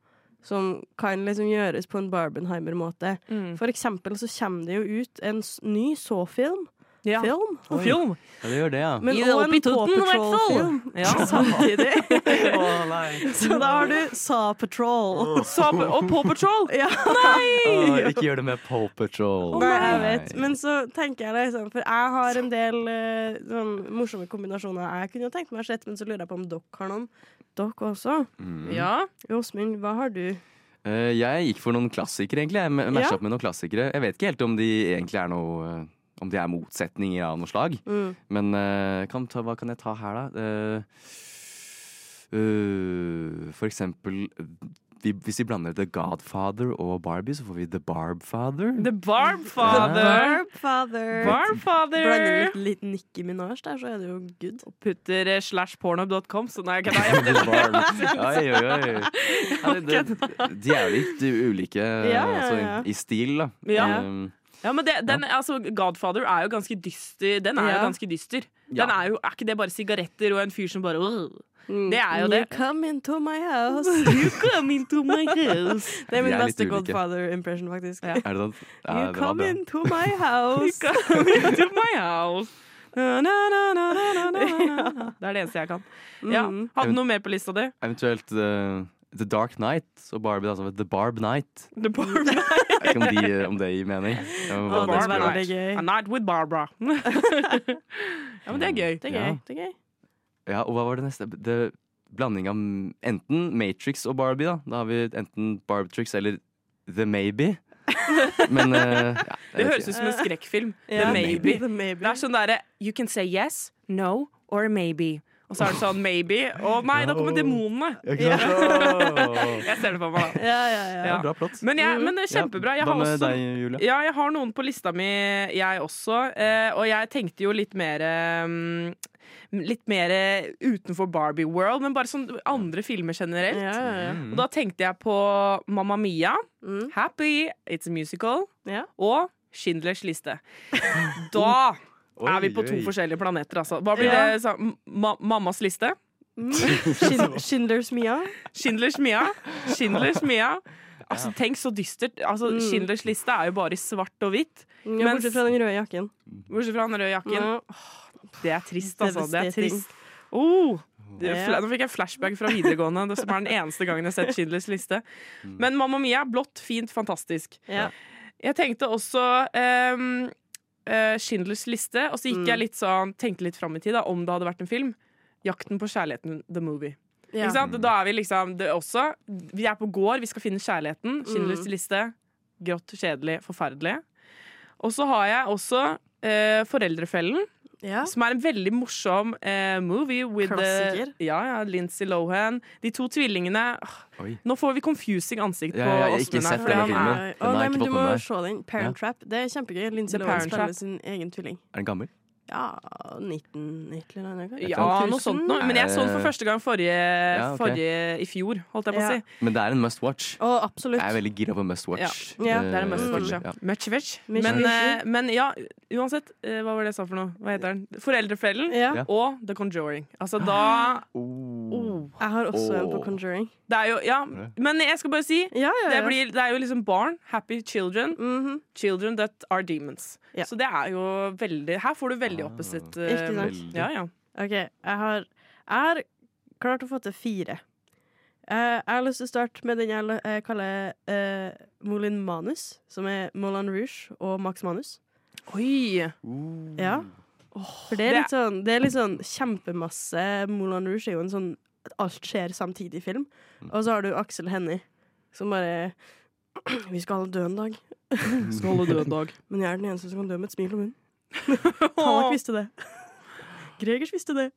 [SPEAKER 5] som kan liksom gjøres på en Barbenheimer-måte?
[SPEAKER 1] Mm.
[SPEAKER 5] For eksempel så kommer det jo ut en s- ny Saw-film.
[SPEAKER 1] Ja.
[SPEAKER 5] Film.
[SPEAKER 1] Og film.
[SPEAKER 4] Ja, det gjør det, ja.
[SPEAKER 5] Men
[SPEAKER 1] I det
[SPEAKER 5] også
[SPEAKER 1] oppe i
[SPEAKER 5] en Paw
[SPEAKER 1] tutten, i hvert fall.
[SPEAKER 5] Patrol-film
[SPEAKER 1] Ja.
[SPEAKER 5] samtidig.
[SPEAKER 4] Å, nei.
[SPEAKER 5] Så da har du Saw Patrol.
[SPEAKER 1] Så, og Paw Patrol!
[SPEAKER 5] Ja.
[SPEAKER 4] Å, ikke gjør det med Pole Patrol.
[SPEAKER 5] Nei, jeg vet. Men så tenker jeg det liksom, for jeg har en del eh, sånn morsomme kombinasjoner jeg kunne jo tenkt meg å sett, men så lurer jeg på om dere har noen. Dere også.
[SPEAKER 1] Ja.
[SPEAKER 5] Åsmund, hva har du?
[SPEAKER 4] Eh, jeg gikk for noen klassikere, egentlig. Jeg ma- matcha
[SPEAKER 5] Ja.
[SPEAKER 4] opp med noen klassikere. Jeg vet ikke helt om de egentlig er noe eh, Om de er motsetninger av noe slag.
[SPEAKER 5] Mm.
[SPEAKER 4] Men eh, kan ta, hva kan jeg ta her, da? Eh, eh, for eksempel vi, Hvis vi blander The Godfather og Barbie, så får vi The Barbfather.
[SPEAKER 1] The Barb Father.
[SPEAKER 5] Father.
[SPEAKER 1] Barb
[SPEAKER 5] Blander
[SPEAKER 1] Father.
[SPEAKER 5] du litt, litt Nicki Minaj der, så er det jo good.
[SPEAKER 1] Putter eh, slash pornhub.com, så nei, jeg kødder.
[SPEAKER 4] The Barb. Oi, oi, oi. Ja, det, det, de er jo litt eh, ulike
[SPEAKER 5] Ja, ja,
[SPEAKER 4] altså,
[SPEAKER 5] ja.
[SPEAKER 4] i stil, da.
[SPEAKER 1] Ja.
[SPEAKER 4] Um,
[SPEAKER 1] Ja, men det, den, altså, Godfather er jo ganske dyster. Den er jo
[SPEAKER 5] Ja.
[SPEAKER 1] ganske dyster.
[SPEAKER 4] Ja.
[SPEAKER 1] Den er, jo, er ikke det bare sigaretter og en fyr som bare "Åh, Det er jo
[SPEAKER 5] Mm. You
[SPEAKER 1] det.
[SPEAKER 5] come into my house.
[SPEAKER 1] You come into my house.
[SPEAKER 5] Det er
[SPEAKER 4] Vi
[SPEAKER 5] min
[SPEAKER 4] er litt
[SPEAKER 5] beste
[SPEAKER 4] ulike.
[SPEAKER 5] Godfather-impression, faktisk.
[SPEAKER 1] Ja.
[SPEAKER 4] er det sant? Ja,
[SPEAKER 5] You
[SPEAKER 4] det var
[SPEAKER 5] come
[SPEAKER 4] bra.
[SPEAKER 5] into my
[SPEAKER 1] You
[SPEAKER 5] house.
[SPEAKER 1] come into my house. Na, na, na, na, na, na, na, na. Det er det eneste jeg kan. Ja.
[SPEAKER 5] Mm.
[SPEAKER 1] Hadde du noe mer på lista di?
[SPEAKER 4] Eventuelt eh, The Dark Knight og Barbie. Altså, The Barb Knight.
[SPEAKER 1] The Barb
[SPEAKER 4] Jeg vet ikke om, de, eh, om det gir mening. Ja, men
[SPEAKER 5] Å,
[SPEAKER 4] hva
[SPEAKER 5] det
[SPEAKER 4] det
[SPEAKER 5] var
[SPEAKER 4] skulle vært.
[SPEAKER 5] veldig gøy.
[SPEAKER 1] A night with Barbara. ja, men det er gøy.
[SPEAKER 5] Det er
[SPEAKER 4] Ja.
[SPEAKER 5] gøy. Det er gøy.
[SPEAKER 4] Ja, og hva var det neste? Det, blanding av enten Matrix og Barbie, da. Da har vi enten Barbatrix eller The Maybe. Men eh, ja,
[SPEAKER 1] Det høres ut som en skrekkfilm.
[SPEAKER 5] Ja.
[SPEAKER 1] The Maybe.
[SPEAKER 5] The maybe.
[SPEAKER 1] Det er sånn derre You can say yes, no or maybe. Og så er det sånn maybe. Å nei, da kommer demonene.
[SPEAKER 4] ut
[SPEAKER 1] Jeg ser det på meg, da.
[SPEAKER 5] Ja, ja, ja.
[SPEAKER 1] Ja.
[SPEAKER 4] Bra plott.
[SPEAKER 1] Men, jeg, men det er kjempebra. Jeg
[SPEAKER 4] Hva
[SPEAKER 1] har
[SPEAKER 4] med
[SPEAKER 1] også
[SPEAKER 4] deg, Julie?
[SPEAKER 1] ja, jeg har noen på lista mi, jeg også. Eh, og jeg tenkte jo litt mer eh, Litt mer eh, utenfor Barbie World, men bare sånn andre filmer generelt.
[SPEAKER 5] Ja, ja, ja.
[SPEAKER 1] Og da tenkte jeg på Mamma Mia,
[SPEAKER 5] Mm.
[SPEAKER 1] Happy, It's a Musical
[SPEAKER 5] Ja.
[SPEAKER 1] og Schindlers liste. Da er vi på to
[SPEAKER 4] Oi, oi.
[SPEAKER 1] forskjellige planeter, altså. Hva blir
[SPEAKER 5] Ja.
[SPEAKER 1] det? sa- Ma mammas liste?
[SPEAKER 5] Mm. Schind- Schindlers Mia.
[SPEAKER 1] Schindlers Mia. Schindlers Mia. Altså, tenk så dystert. Altså,
[SPEAKER 5] Mm.
[SPEAKER 1] Schindlers liste er jo bare i svart og hvitt.
[SPEAKER 5] Ja,
[SPEAKER 1] Mens-
[SPEAKER 5] bortsett fra den røde jakken.
[SPEAKER 1] Bortsett fra den røde jakken.
[SPEAKER 5] Ja.
[SPEAKER 1] Det er trist, altså. Det er
[SPEAKER 5] Devastating.
[SPEAKER 1] trist. Oh, det,
[SPEAKER 5] Ja.
[SPEAKER 1] fla- nå fikk jeg flashback fra videregående, det som er den eneste gangen jeg har sett Schindlers liste.
[SPEAKER 4] Mm.
[SPEAKER 1] Men Mamma Mia, blått, fint, fantastisk.
[SPEAKER 5] Ja.
[SPEAKER 1] Jeg tenkte også ehm, eh, Schindlers liste, og så gikk
[SPEAKER 5] Mm.
[SPEAKER 1] jeg litt sånn, tenkte litt fram i tid, da, om det hadde vært en film. 'Jakten på kjærligheten', the movie.
[SPEAKER 5] Ja.
[SPEAKER 1] Ikke sant? Da er vi liksom det er også. Vi er på gård, vi skal finne kjærligheten.
[SPEAKER 5] Mm.
[SPEAKER 1] Schindlers liste. Grått, kjedelig, forferdelig. Og så har jeg også eh, Foreldrefellen,
[SPEAKER 5] Ja.
[SPEAKER 1] som er en veldig morsom eh, movie. With,
[SPEAKER 5] Klassiker.
[SPEAKER 1] eh, ja, ja, Lindsay Lohan. De to tvillingene. Åh,
[SPEAKER 4] Oi.
[SPEAKER 1] Nå får vi confusing ansikt
[SPEAKER 4] Ja,
[SPEAKER 1] på
[SPEAKER 4] ja, jeg har ikke
[SPEAKER 1] Åsmund her.
[SPEAKER 4] sett
[SPEAKER 1] fordi
[SPEAKER 4] denne
[SPEAKER 1] han
[SPEAKER 4] filmen.
[SPEAKER 1] er-
[SPEAKER 5] Nei,
[SPEAKER 4] Den har
[SPEAKER 5] Å, nei,
[SPEAKER 4] jeg
[SPEAKER 5] men
[SPEAKER 4] ikke
[SPEAKER 5] du
[SPEAKER 4] fått
[SPEAKER 5] må
[SPEAKER 4] med meg.
[SPEAKER 5] se den. Parent Trap. Det er kjempegøy. Lindsay
[SPEAKER 1] The
[SPEAKER 5] Lohan
[SPEAKER 1] Parent
[SPEAKER 5] spiller
[SPEAKER 1] Trap.
[SPEAKER 5] sin egen tvilling.
[SPEAKER 4] Er den gammel?
[SPEAKER 5] Ja, 19 et eller annet. kanskje?
[SPEAKER 1] Ja, noe sånt noe. Men jeg så den for første gang forrige,
[SPEAKER 4] Eh, ok.
[SPEAKER 1] forrige i fjor, holdt jeg på å
[SPEAKER 5] Ja.
[SPEAKER 1] si.
[SPEAKER 4] Men det er en must watch.
[SPEAKER 5] Å, absolutt.
[SPEAKER 4] Jeg er veldig gira på must watch.
[SPEAKER 1] Ja.
[SPEAKER 5] Ja, det er en
[SPEAKER 4] eh,
[SPEAKER 5] must watch,
[SPEAKER 1] Mm. ja.
[SPEAKER 4] filmer.
[SPEAKER 1] Much veg.
[SPEAKER 5] Much
[SPEAKER 1] Men,
[SPEAKER 5] veg.
[SPEAKER 1] eh, men ja, uansett, eh, hva var det jeg sa for noe? Hva heter den? Foreldrefellen
[SPEAKER 5] Ja. Ah.
[SPEAKER 4] Ja.
[SPEAKER 1] og The Conjuring. Altså da
[SPEAKER 4] Oh.
[SPEAKER 5] Jeg har også en på
[SPEAKER 4] Åh.
[SPEAKER 5] Conjuring.
[SPEAKER 1] Det er jo Ja, men jeg skal bare si
[SPEAKER 5] Ja, ja,
[SPEAKER 1] det,
[SPEAKER 5] ja.
[SPEAKER 1] blir, det er jo liksom barn. Happy children.
[SPEAKER 5] Mhm.
[SPEAKER 1] Children that are demons.
[SPEAKER 5] Ja.
[SPEAKER 1] Så det er jo veldig Her får du veldig opposite. eh,
[SPEAKER 5] Ikke sant?
[SPEAKER 4] Veldig.
[SPEAKER 1] Ja, ja.
[SPEAKER 5] OK, jeg har, jeg har klart å få til fire. Eh, jeg har lyst til å starte med den jeg, l- jeg kaller eh, Moulin Manus, som er Moulin Rouge og Max Manus.
[SPEAKER 1] Oi!
[SPEAKER 4] Oh.
[SPEAKER 5] Ja. Mm. For det er
[SPEAKER 1] det-
[SPEAKER 5] litt sånn, det er litt sånn kjempemasse Moulin Rouge er jo en sånn alt skjer samtidig-film.
[SPEAKER 1] Mm.
[SPEAKER 5] Og så har du Aksel Hennie, som bare Vi skal alle dø en dag.
[SPEAKER 1] Skal holde død en dag.
[SPEAKER 5] Men jeg er den eneste som kan dø med et smil om munnen. Tanak visste det. Gregers visste det.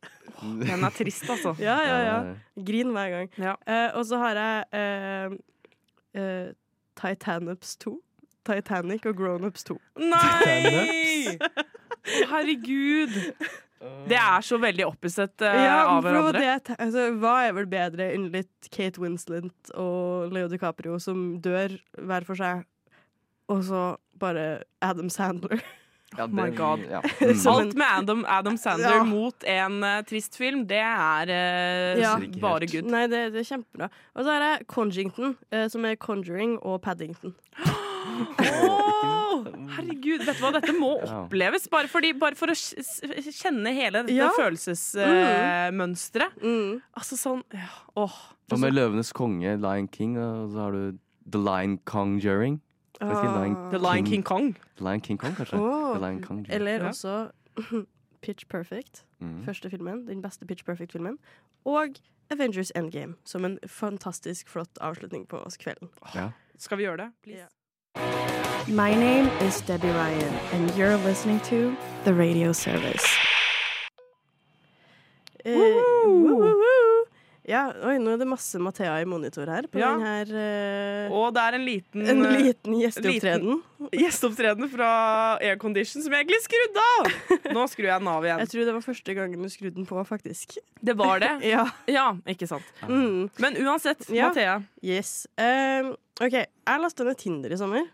[SPEAKER 1] Den er trist, altså.
[SPEAKER 5] Ja, ja, ja.
[SPEAKER 4] Eh,
[SPEAKER 5] Grin hver gang.
[SPEAKER 1] Ja.
[SPEAKER 5] Eh, og så har jeg eh, eh, Titanics 2. Titanic og Grownups 2.
[SPEAKER 1] Nei! Å, Herregud. Det er så veldig opposite eh, av
[SPEAKER 5] for det var
[SPEAKER 1] hverandre.
[SPEAKER 5] det jeg te- altså, hva er vel bedre enn litt Kate Winslet og Leo DiCaprio som dør hver for seg, og så bare Adam Sandler.
[SPEAKER 4] Ja,
[SPEAKER 1] my
[SPEAKER 4] den-
[SPEAKER 1] God.
[SPEAKER 4] Ja. Mm.
[SPEAKER 5] Så-
[SPEAKER 1] Alt med Adam, Adam Sandler
[SPEAKER 5] Ja.
[SPEAKER 1] mot en eh, trist film, det er eh,
[SPEAKER 5] Ja.
[SPEAKER 1] bare good.
[SPEAKER 5] Nei, det, det er kjempebra. Og så har jeg Conjington, eh, som er Conjuring og Paddington.
[SPEAKER 1] Åh, herregud, vet du hva, dette må
[SPEAKER 4] Ja.
[SPEAKER 1] oppleves. Bare, fordi, bare for å s- s- kjenne hele dette
[SPEAKER 5] Ja.
[SPEAKER 1] følelsesmønsteret.
[SPEAKER 5] Mm.
[SPEAKER 1] Altså sånn ja, Åh.
[SPEAKER 4] Hva med Løvenes konge, Lion King, og så har du The Lion Conjuring? Vet ikke,
[SPEAKER 1] Ah. The Lion
[SPEAKER 4] Mm.
[SPEAKER 1] King Kong.
[SPEAKER 4] Lion King Kong, kanskje?
[SPEAKER 5] Åh.
[SPEAKER 4] The Lion Kong Jr.
[SPEAKER 5] Eller
[SPEAKER 1] Ja.
[SPEAKER 5] også Pitch Perfect,
[SPEAKER 4] Mm.
[SPEAKER 5] første filmen, den beste Pitch Perfect-filmen. Og Avengers Endgame, som en fantastisk flott avslutning på oss kvelden.
[SPEAKER 4] Ja.
[SPEAKER 1] Skal vi gjøre det? Please?
[SPEAKER 5] Ja.
[SPEAKER 6] My name is Debbie Ryan, and you're listening to The Radio Service.
[SPEAKER 5] Eh,
[SPEAKER 1] Woohoo!
[SPEAKER 5] woo, woo, woo. Ja, oi, nå er det masse Mathea i monitor her på
[SPEAKER 1] Ja.
[SPEAKER 5] den her eh,
[SPEAKER 1] Og det er en liten,
[SPEAKER 5] En
[SPEAKER 1] eh,
[SPEAKER 5] liten gjesteopptreden.
[SPEAKER 1] gjesteopptreden fra aircondition som jeg egentlig skrudde av! Nå skrur jeg den av
[SPEAKER 5] Jeg
[SPEAKER 1] igjen.
[SPEAKER 5] tror det var første gangen du skrudde den på, faktisk.
[SPEAKER 1] Det var det.
[SPEAKER 5] Ja.
[SPEAKER 1] Ja, ikke sant.
[SPEAKER 5] Mm.
[SPEAKER 1] Men uansett,
[SPEAKER 5] Ja.
[SPEAKER 1] Mathea.
[SPEAKER 5] Yes. Eh, OK, jeg lasta ned Tinder i sommer.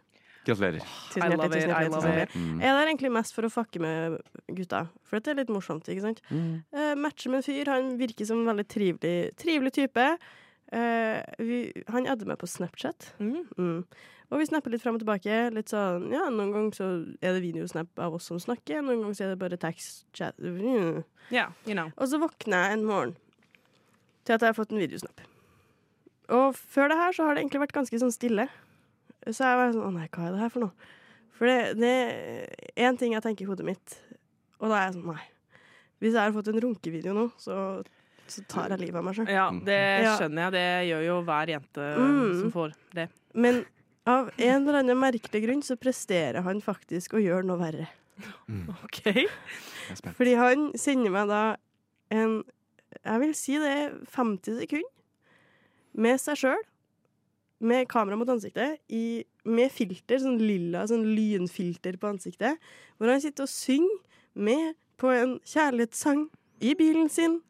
[SPEAKER 4] Gratulerer.
[SPEAKER 1] I
[SPEAKER 5] Tusen
[SPEAKER 1] love
[SPEAKER 5] hjertelig,
[SPEAKER 1] it, I
[SPEAKER 5] tusen hjertelig.
[SPEAKER 1] love
[SPEAKER 5] Tusen hjertelig.
[SPEAKER 1] it.
[SPEAKER 4] Mm.
[SPEAKER 5] Jeg er der egentlig mest for å fucke med gutta, for det er litt morsomt. ikke sant?
[SPEAKER 4] Mm.
[SPEAKER 5] Eh, matcher med en fyr, han virker som en veldig trivelig, trivelig type. Eh, vi, han adder meg på Snapchat.
[SPEAKER 1] Mm.
[SPEAKER 5] Mm. Og vi snapper litt fram og tilbake. Litt sånn, ja, Noen ganger så er det videosnap av oss som snakker, noen ganger så er det bare tekstchat. Mm.
[SPEAKER 1] Yeah, you know.
[SPEAKER 5] Og så våkner jeg en morgen til at jeg har fått en videosnap. Og før det her så har det egentlig vært ganske sånn stille. Så jeg var sånn Å nei, hva er det her for noe? For det, det er én ting jeg tenker i hodet mitt, og da er jeg sånn Nei. Hvis jeg har fått en runkevideo nå, så, så tar jeg livet av meg sjøl.
[SPEAKER 1] Ja, det
[SPEAKER 5] Ja.
[SPEAKER 1] skjønner jeg. Det gjør jo hver jente eh,
[SPEAKER 5] Mm.
[SPEAKER 1] som får det.
[SPEAKER 5] Men av en eller annen merkelig grunn så presterer han faktisk å gjøre noe verre.
[SPEAKER 1] Ok.
[SPEAKER 4] Jeg er spent.
[SPEAKER 5] Fordi han sender meg da en Jeg vil si det er 50 sekunder med seg sjøl, med kamera mot ansiktet, i, med filter, sånn lilla sånn lynfilter på ansiktet, hvor han sitter og synger med på en kjærlighetssang i bilen sin.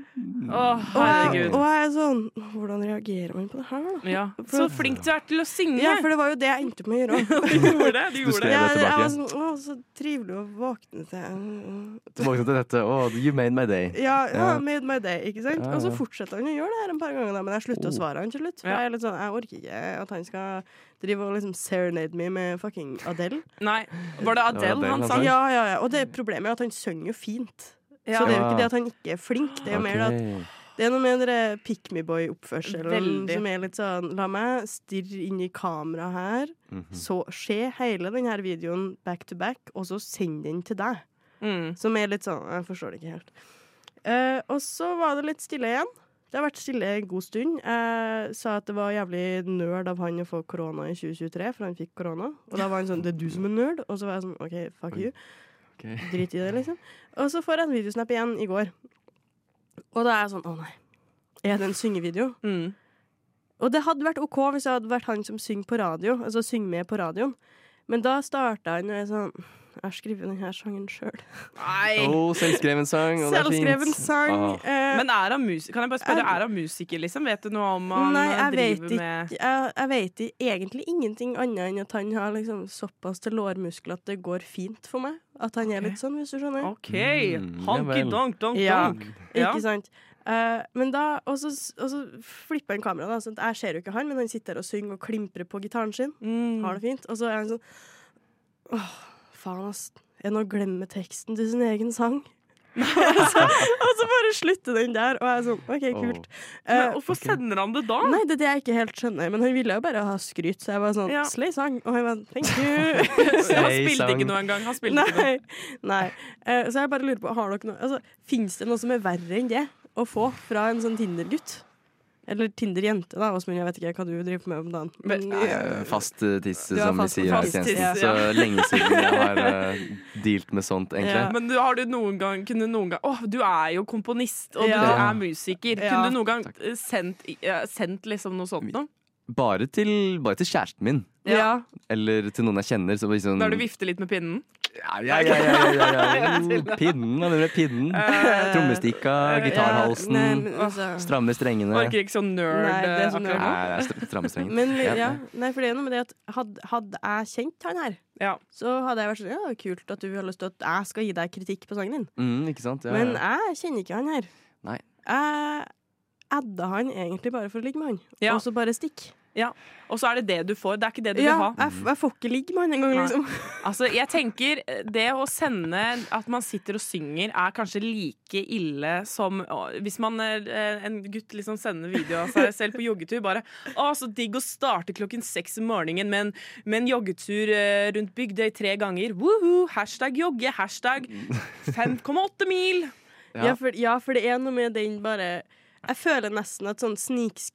[SPEAKER 1] Å,
[SPEAKER 5] Og jeg,
[SPEAKER 1] herregud.
[SPEAKER 5] og jeg er sånn Hvordan reagerer man på det her, da?
[SPEAKER 1] Ja. Så flink du er til å synge!
[SPEAKER 5] Ja, for det var jo det jeg endte opp med å gjøre. også.
[SPEAKER 1] du gjorde det. Du
[SPEAKER 4] Du
[SPEAKER 1] gjorde
[SPEAKER 4] skrev
[SPEAKER 1] det.
[SPEAKER 5] Jeg,
[SPEAKER 4] det
[SPEAKER 5] jeg var
[SPEAKER 4] tilbake.
[SPEAKER 5] sånn Å, så trivelig å våkne til
[SPEAKER 4] Tilbake til dette. Oh, you made my day.
[SPEAKER 5] Ja, ja,
[SPEAKER 4] Ja.
[SPEAKER 5] made my day, ikke sant?
[SPEAKER 4] Ja,
[SPEAKER 5] Og så
[SPEAKER 4] ja.
[SPEAKER 5] fortsetter han å gjøre det her en par ganger, da, men jeg slutter å
[SPEAKER 4] Oh.
[SPEAKER 5] svare han til slutt. For
[SPEAKER 1] Ja.
[SPEAKER 5] jeg er litt sånn, jeg orker ikke at han skal drive og liksom serenade me med fucking Adele.
[SPEAKER 1] Nei, var det
[SPEAKER 4] Det var
[SPEAKER 1] Adele
[SPEAKER 4] Adele
[SPEAKER 1] han
[SPEAKER 4] han
[SPEAKER 1] sang?
[SPEAKER 4] sang.
[SPEAKER 5] Ja, ja, ja. Og det problemet er at han synger jo fint.
[SPEAKER 1] Ja.
[SPEAKER 5] Så det er jo
[SPEAKER 4] Ja.
[SPEAKER 5] ikke det at han ikke er flink, det er jo mer det at
[SPEAKER 4] Ok.
[SPEAKER 5] det er noe med den pick me boy-oppførselen
[SPEAKER 1] Veldig.
[SPEAKER 5] som er litt sånn La meg stirre inn i kamera her,
[SPEAKER 4] Mhm.
[SPEAKER 5] så se hele denne videoen back to back, og så send den til deg.
[SPEAKER 1] Mm.
[SPEAKER 5] Som er litt sånn Jeg forstår det ikke helt. Eh, og så var det litt stille igjen. Det har vært stille en god stund. Jeg sa at det var jævlig nerd av han å få korona i 2023, for han fikk korona. Og da var han sånn 'Det er du som er nerd'. Og så var jeg sånn 'OK, fuck you'.
[SPEAKER 4] Ok.
[SPEAKER 5] Drit i det, liksom. Og så får jeg en videosnap igjen i går. Og da er jeg sånn 'Å nei'. Er det en syngevideo?
[SPEAKER 1] Mm.
[SPEAKER 5] Og det hadde vært OK hvis det hadde vært han som synger på radio. Altså synger med på radioen. Men da starta han med sånn Jeg har skrevet denne sangen sjøl.
[SPEAKER 1] Nei.
[SPEAKER 4] Oh, selvskreven sang. Og det er fint.
[SPEAKER 5] Selvskreven sang.
[SPEAKER 4] Ah.
[SPEAKER 5] eh,
[SPEAKER 1] Men er han musiker? Kan jeg bare spørre,
[SPEAKER 5] Er-
[SPEAKER 1] er han musiker, liksom? Vet du noe om han
[SPEAKER 5] Nei,
[SPEAKER 1] eh,
[SPEAKER 5] jeg vet
[SPEAKER 1] driver
[SPEAKER 5] ikke.
[SPEAKER 1] med
[SPEAKER 5] jeg, jeg vet i- egentlig ingenting annet enn at han har liksom såpass til lårmuskler at det går fint for meg. At han er
[SPEAKER 1] Ok.
[SPEAKER 5] litt sånn, hvis du skjønner.
[SPEAKER 1] OK!
[SPEAKER 4] Mm, ja vel.
[SPEAKER 1] Honky-donk, donk,
[SPEAKER 5] Ja.
[SPEAKER 1] donk. Ja.
[SPEAKER 5] Ikke sant? Eh, men da, og så, og så flipper han kameraet, da, sånn at jeg ser jo ikke han, men han sitter der og synger og klimprer på gitaren sin.
[SPEAKER 1] Mm.
[SPEAKER 5] Har det fint. Og så er han sånn Åh, faen, ass. En å glemme teksten til sin egen sang. og, så, og så bare slutter den der, og jeg er sånn OK, kult. Eh,
[SPEAKER 1] Men hvorfor sender han det da?
[SPEAKER 5] Nei, det er det jeg ikke helt skjønner. Men han ville jo bare ha skryt, så jeg var sånn
[SPEAKER 1] Ja.
[SPEAKER 5] Slay sang. Og han var sånn, thank you.
[SPEAKER 1] Han
[SPEAKER 4] Say
[SPEAKER 1] spilte
[SPEAKER 4] song.
[SPEAKER 1] ikke noe engang. Han spilte ikke noe.
[SPEAKER 5] Nei. Nei. Eh, så jeg bare lurer på, har dere noe Altså, fins det noe som er verre enn det å få fra en sånn Tinder-gutt? Eller Tinder-jente, da. Åsmund, jeg vet ikke hva du driver med om dagen. Men,
[SPEAKER 4] Eh, Fast eh, tiss,
[SPEAKER 5] Du har
[SPEAKER 4] som vi
[SPEAKER 5] fast-
[SPEAKER 4] sier her i
[SPEAKER 1] fast tiss,
[SPEAKER 4] tjenesten.
[SPEAKER 1] ja.
[SPEAKER 4] Så lenge siden jeg har uh, dealt med sånt, egentlig.
[SPEAKER 1] Men du, har du noen gang kunne noen gang Åh, du er jo komponist, og du
[SPEAKER 5] Ja.
[SPEAKER 1] er musiker.
[SPEAKER 5] Ja.
[SPEAKER 1] Kunne du noen gang eh, sendt, eh, sendt liksom noe sånt noe?
[SPEAKER 4] Bare, til, bare til kjæresten min.
[SPEAKER 5] ja. ja.
[SPEAKER 4] Eller til noen jeg kjenner. Så bare sånn,
[SPEAKER 1] Der du vifter litt med pinnen?
[SPEAKER 4] ja, ja, ja, ja, ja, ja, ja. Pinnen, hva mener du med pinnen? Trommestikka, gitarhalsen,
[SPEAKER 5] Nei, Eh, men, altså,
[SPEAKER 4] stramme strengene. Nei,
[SPEAKER 1] Orker ikke sånn
[SPEAKER 5] Nei, det er sånn
[SPEAKER 1] nerd-akkurat.
[SPEAKER 5] nerd.
[SPEAKER 4] det er str- stramme strengene.
[SPEAKER 5] men
[SPEAKER 4] Ja,
[SPEAKER 5] ja. Nei, for det er noe med det at hadde, hadde jeg kjent han her,
[SPEAKER 1] Ja.
[SPEAKER 5] så hadde jeg vært sånn Ja, kult at du har lyst til at jeg skal gi deg kritikk på sangen din.
[SPEAKER 4] Mm, ikke sant? Ja,
[SPEAKER 5] Men
[SPEAKER 4] ja.
[SPEAKER 5] jeg kjenner ikke han her.
[SPEAKER 4] Nei.
[SPEAKER 5] Jeg adda han egentlig bare for å ligge med han,
[SPEAKER 1] Ja.
[SPEAKER 5] og så bare stikke.
[SPEAKER 1] Og så er det det du får. Det er ikke det du
[SPEAKER 5] Ja,
[SPEAKER 1] vil ha.
[SPEAKER 5] jeg, f- jeg får ikke ligge med han engang,
[SPEAKER 1] Nei.
[SPEAKER 5] liksom.
[SPEAKER 1] Altså, jeg tenker eh, Det å sende at man sitter og synger, er kanskje like ille som å, hvis man eh, en gutt liksom sender video av seg selv på joggetur. Bare 'Å, så digg å starte klokken seks om morgenen med en, med en joggetur eh, rundt Bygdøy tre ganger'. Woohoo! Hashtag jogge. Hashtag 5,8 mil.
[SPEAKER 4] Ja.
[SPEAKER 5] Ja. for, ja, for det er noe med den bare Jeg føler nesten at sånn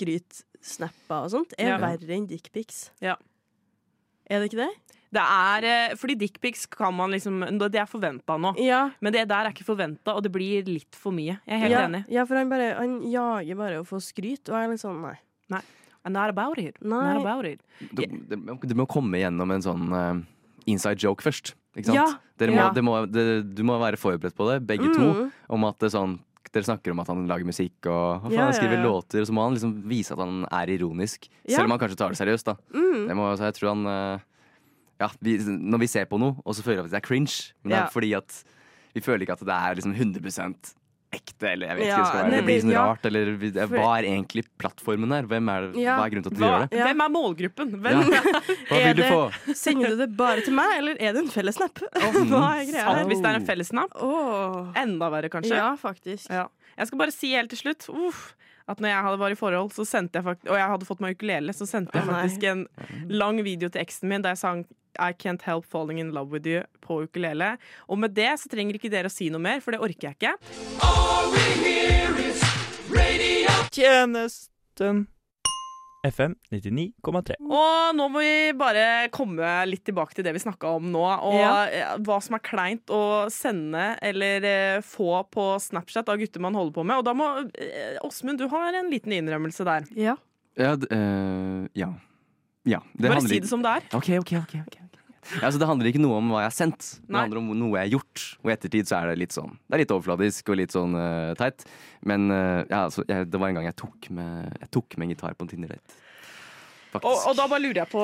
[SPEAKER 5] snikskryt-snapper og sånt er
[SPEAKER 1] Ja.
[SPEAKER 5] verre enn dickpics.
[SPEAKER 1] Ja.
[SPEAKER 5] Er det ikke det?
[SPEAKER 1] Det er eh, Fordi dickpics kan man liksom Det er forventa nå.
[SPEAKER 5] Ja.
[SPEAKER 1] Men det der er ikke forventa, og det blir litt for mye. Jeg er helt
[SPEAKER 5] ja,
[SPEAKER 1] enig.
[SPEAKER 5] ja, for han bare Han jager bare å få skryt, og jeg er litt sånn nei.
[SPEAKER 1] And not about it.
[SPEAKER 5] Nei.
[SPEAKER 1] Not about it.
[SPEAKER 4] Det, det, det må komme gjennom en sånn eh, inside joke først. Ikke sant?
[SPEAKER 5] Ja.
[SPEAKER 4] Dere må,
[SPEAKER 5] Ja.
[SPEAKER 4] det må, det, du må være forberedt på det, begge to.
[SPEAKER 5] Mm.
[SPEAKER 4] Om at det er sånn, dere snakker om at han lager musikk og, og
[SPEAKER 5] Ja,
[SPEAKER 4] han
[SPEAKER 5] ja,
[SPEAKER 4] skriver
[SPEAKER 5] ja.
[SPEAKER 4] låter. Og så må han liksom vise at han er ironisk.
[SPEAKER 5] Ja.
[SPEAKER 4] Selv om han kanskje tar det seriøst. Da.
[SPEAKER 5] Mm.
[SPEAKER 4] Det må, så jeg tror han eh, ja, vi, Når vi ser på noe, og så føler vi at det er cringe, men det er
[SPEAKER 5] Ja.
[SPEAKER 4] fordi at vi føler ikke at det er liksom 100 ekte, eller jeg vet
[SPEAKER 5] Ja,
[SPEAKER 4] ikke, det, skal være.
[SPEAKER 5] nei,
[SPEAKER 4] det blir sånn
[SPEAKER 5] ja.
[SPEAKER 4] rart. Eller vi-
[SPEAKER 5] For-
[SPEAKER 4] hva er egentlig plattformen her? Hvem er det,
[SPEAKER 5] Ja.
[SPEAKER 4] Hva er grunnen til at de
[SPEAKER 1] Hva,
[SPEAKER 4] gjør det?
[SPEAKER 5] Ja.
[SPEAKER 1] Hvem er målgruppen? Hvem,
[SPEAKER 4] Ja. Hva
[SPEAKER 5] Er
[SPEAKER 4] vil du
[SPEAKER 5] det-
[SPEAKER 4] få?
[SPEAKER 5] Sender du det bare til meg, eller er det en felles snap? Hva er greia
[SPEAKER 1] Sant,
[SPEAKER 5] her?
[SPEAKER 1] hvis det er en fellesnap.
[SPEAKER 5] Åh.
[SPEAKER 1] Enda verre, kanskje.
[SPEAKER 5] Ja, faktisk.
[SPEAKER 1] Ja. Jeg skal bare si helt til slutt uff, at når jeg hadde var i forhold, så sendte jeg fakt og jeg hadde fått meg ukulele, så sendte jeg
[SPEAKER 5] Å, nei.
[SPEAKER 1] faktisk en lang video til eksen min der jeg sang I can't help falling in love with you på ukulele. Og med det så trenger ikke dere å si noe mer, for det orker jeg ikke.
[SPEAKER 7] Tjenesten. FM 99,3.
[SPEAKER 1] Og nå må vi bare komme litt tilbake til det vi snakka om nå, og
[SPEAKER 5] Ja.
[SPEAKER 1] eh, hva som er kleint å sende eller eh, få på Snapchat av gutter man holder på med. Og da må eh, Åsmund, du har en liten innrømmelse der.
[SPEAKER 5] Ja.
[SPEAKER 4] Ja. d- eh, ja. ja. Det
[SPEAKER 1] Bare
[SPEAKER 4] handler
[SPEAKER 1] si
[SPEAKER 4] ikke-
[SPEAKER 1] det sånn. som det er.
[SPEAKER 4] OK, OK. ok, ok, ok. Ja, så det handler ikke noe om hva jeg har sendt, det
[SPEAKER 1] Nei.
[SPEAKER 4] handler om noe jeg har gjort. Og i ettertid så er det litt sånn Det er litt overfladisk og litt sånn eh, teit. Men eh, ja, altså, jeg, det var en gang jeg tok med, jeg tok med en gitar på en Tinder-date. Faktisk.
[SPEAKER 1] Og, og da bare lurer jeg på,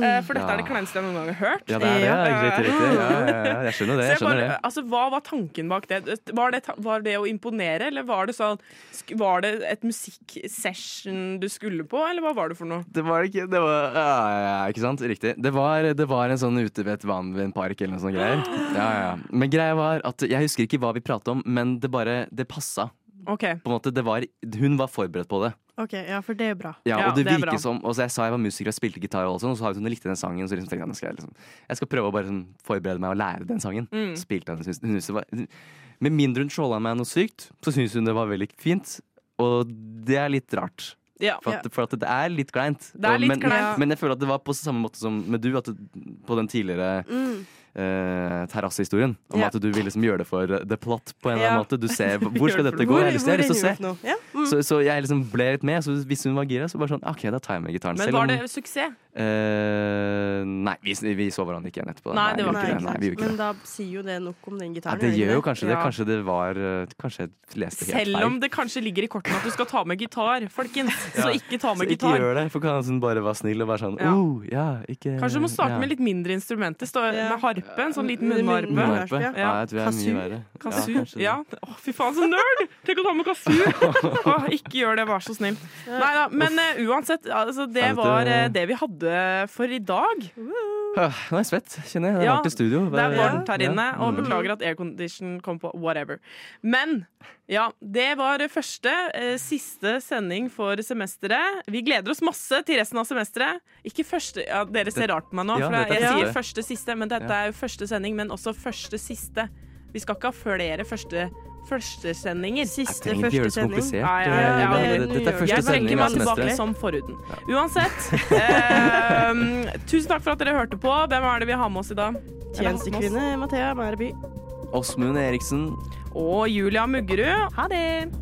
[SPEAKER 1] eh, for dette er det
[SPEAKER 4] Ja.
[SPEAKER 1] kleineste jeg noen gang har hørt.
[SPEAKER 4] Ja, det er det. Ja,
[SPEAKER 1] Ja.
[SPEAKER 4] riktig, riktig. Ja, ja, ja, jeg skjønner
[SPEAKER 1] Så
[SPEAKER 4] det. Jeg
[SPEAKER 1] jeg
[SPEAKER 4] skjønner det.
[SPEAKER 1] bare, altså, hva var tanken bak det? Var det, ta- var det å imponere, eller var det, sånn, sk- var det et musikksession du skulle på, eller hva var det for noe?
[SPEAKER 4] Det var ikke det var, ja, ja, ja, ikke sant? Riktig. Det var, det var en sånn ute ved et vann ved en park eller noe sånt greier. Ja, ja. ja. Men greia var at jeg husker ikke hva vi pratet om, men det bare Det passa.
[SPEAKER 1] Ok,
[SPEAKER 4] På en måte, det var, hun var forberedt på det.
[SPEAKER 5] OK, ja, for det er bra.
[SPEAKER 4] Ja,
[SPEAKER 1] Ja,
[SPEAKER 4] og det,
[SPEAKER 1] det er bra.
[SPEAKER 4] virker som Og så jeg sa jeg var musiker og spilte gitar, og, alt sånt, og så har hun likte den sangen. Så liksom tenkte jeg nå skal jeg, liksom, jeg skal prøve å bare sånn, forberede meg og lære den sangen.
[SPEAKER 1] Mm.
[SPEAKER 4] Spilte den, synes, hun syntes det var, Med mindre hun trolla meg noe sykt, så syntes hun det var veldig fint. Og det er litt rart.
[SPEAKER 1] ja.
[SPEAKER 4] For at, for at det er litt kleint.
[SPEAKER 1] Det er
[SPEAKER 4] Og-
[SPEAKER 1] litt
[SPEAKER 4] men,
[SPEAKER 1] kleint.
[SPEAKER 4] men jeg føler at det var på samme måte som med du, at du, på den tidligere
[SPEAKER 1] Mm.
[SPEAKER 4] eh, terrassehistorien. Om
[SPEAKER 5] Ja.
[SPEAKER 4] at du vil liksom gjøre det for the plot på en eller
[SPEAKER 5] Ja.
[SPEAKER 4] annen måte. Du ser hvor skal dette gå.
[SPEAKER 5] Hvor,
[SPEAKER 4] Jeg har lyst til- jeg har lyst til å se.
[SPEAKER 5] nå? Ja.
[SPEAKER 4] Så, så jeg liksom ble litt med. Så hvis hun var gira, så bare sånn OK, da tar jeg med gitaren.
[SPEAKER 1] Men
[SPEAKER 4] Selv
[SPEAKER 1] var
[SPEAKER 4] om-
[SPEAKER 1] det suksess?
[SPEAKER 4] Eh, nei, vi, vi så hverandre ikke igjen etterpå. da.
[SPEAKER 1] Nei, det var
[SPEAKER 4] vi
[SPEAKER 1] ikke
[SPEAKER 4] gjorde Nei, vi gjorde ikke
[SPEAKER 5] Men
[SPEAKER 4] det.
[SPEAKER 5] da sier jo det nok om den
[SPEAKER 4] Ja,
[SPEAKER 5] gitaren.
[SPEAKER 4] det
[SPEAKER 5] gjør
[SPEAKER 4] gjør jo
[SPEAKER 5] ikke
[SPEAKER 4] kanskje det.
[SPEAKER 1] Ja.
[SPEAKER 4] Kanskje det var eh, Kanskje jeg leste helt feil.
[SPEAKER 1] Selv om det kanskje ligger i kortene at du skal ta med gitar, folkens. Så
[SPEAKER 4] Ja.
[SPEAKER 1] ikke ta med
[SPEAKER 4] Så ikke
[SPEAKER 1] gitar.
[SPEAKER 4] gjør det, for kanskje hun bare var snill og bare sånn
[SPEAKER 1] Ja.
[SPEAKER 4] oh, ja, ikke
[SPEAKER 1] Kanskje du må starte
[SPEAKER 4] ja.
[SPEAKER 1] med litt mindre instrumenter. Stå
[SPEAKER 5] Ja.
[SPEAKER 1] med harpe, en sånn liten
[SPEAKER 5] Min-
[SPEAKER 1] munnharpe.
[SPEAKER 5] munnharpe.
[SPEAKER 4] Munnharpe? Ja.
[SPEAKER 1] Ja.
[SPEAKER 4] jeg tror jeg er
[SPEAKER 5] Kazoo.
[SPEAKER 4] mye verre.
[SPEAKER 1] Kasu.
[SPEAKER 4] Ja, kanskje det.
[SPEAKER 1] Ja. Å, fy faen, så nerd! Tenk å ta med kasu! Å, ikke gjør det, vær så snill. Nei da, men eh, uansett, altså, det
[SPEAKER 4] Ja, vet du-
[SPEAKER 1] var eh, det vi hadde for i dag.
[SPEAKER 4] Åh, Nå er jeg svett, kjenner jeg. Det er
[SPEAKER 1] Ja,
[SPEAKER 4] varmt i studio.
[SPEAKER 1] Det er varmt her
[SPEAKER 4] Ja.
[SPEAKER 1] inne, og
[SPEAKER 4] Mm.
[SPEAKER 1] beklager at aircondition kom på. Whatever. Men ja, det var første, eh, siste sending for semesteret. Vi gleder oss masse til resten av semesteret. Ikke første ja, Dere ser rart på meg nå,
[SPEAKER 4] Ja,
[SPEAKER 1] for
[SPEAKER 4] dette er
[SPEAKER 1] jeg
[SPEAKER 4] siste.
[SPEAKER 1] sier første siste, men dette er jo første sending, men også første siste. Vi skal ikke ha flere første førstesendinger.
[SPEAKER 4] Jeg
[SPEAKER 5] Siste
[SPEAKER 4] trenger ikke gjøre
[SPEAKER 5] første
[SPEAKER 4] det så
[SPEAKER 5] sending.
[SPEAKER 4] komplisert.
[SPEAKER 1] Ja, ja, ja, ja,
[SPEAKER 4] eh,
[SPEAKER 1] ja,
[SPEAKER 4] det- Dette er
[SPEAKER 5] ja,
[SPEAKER 4] første
[SPEAKER 1] Jeg trekker
[SPEAKER 4] sending av
[SPEAKER 1] meg tilbake
[SPEAKER 4] semesteret.
[SPEAKER 1] som forhuden. Uansett, eh, tusen takk for at dere hørte på. Hvem er det vi har med oss i dag? Eller hatt med oss?
[SPEAKER 5] Tjenestekvinne Mathea Mærby.
[SPEAKER 4] Åsmund Eriksen,
[SPEAKER 1] og Julia Muggerud. Ha det!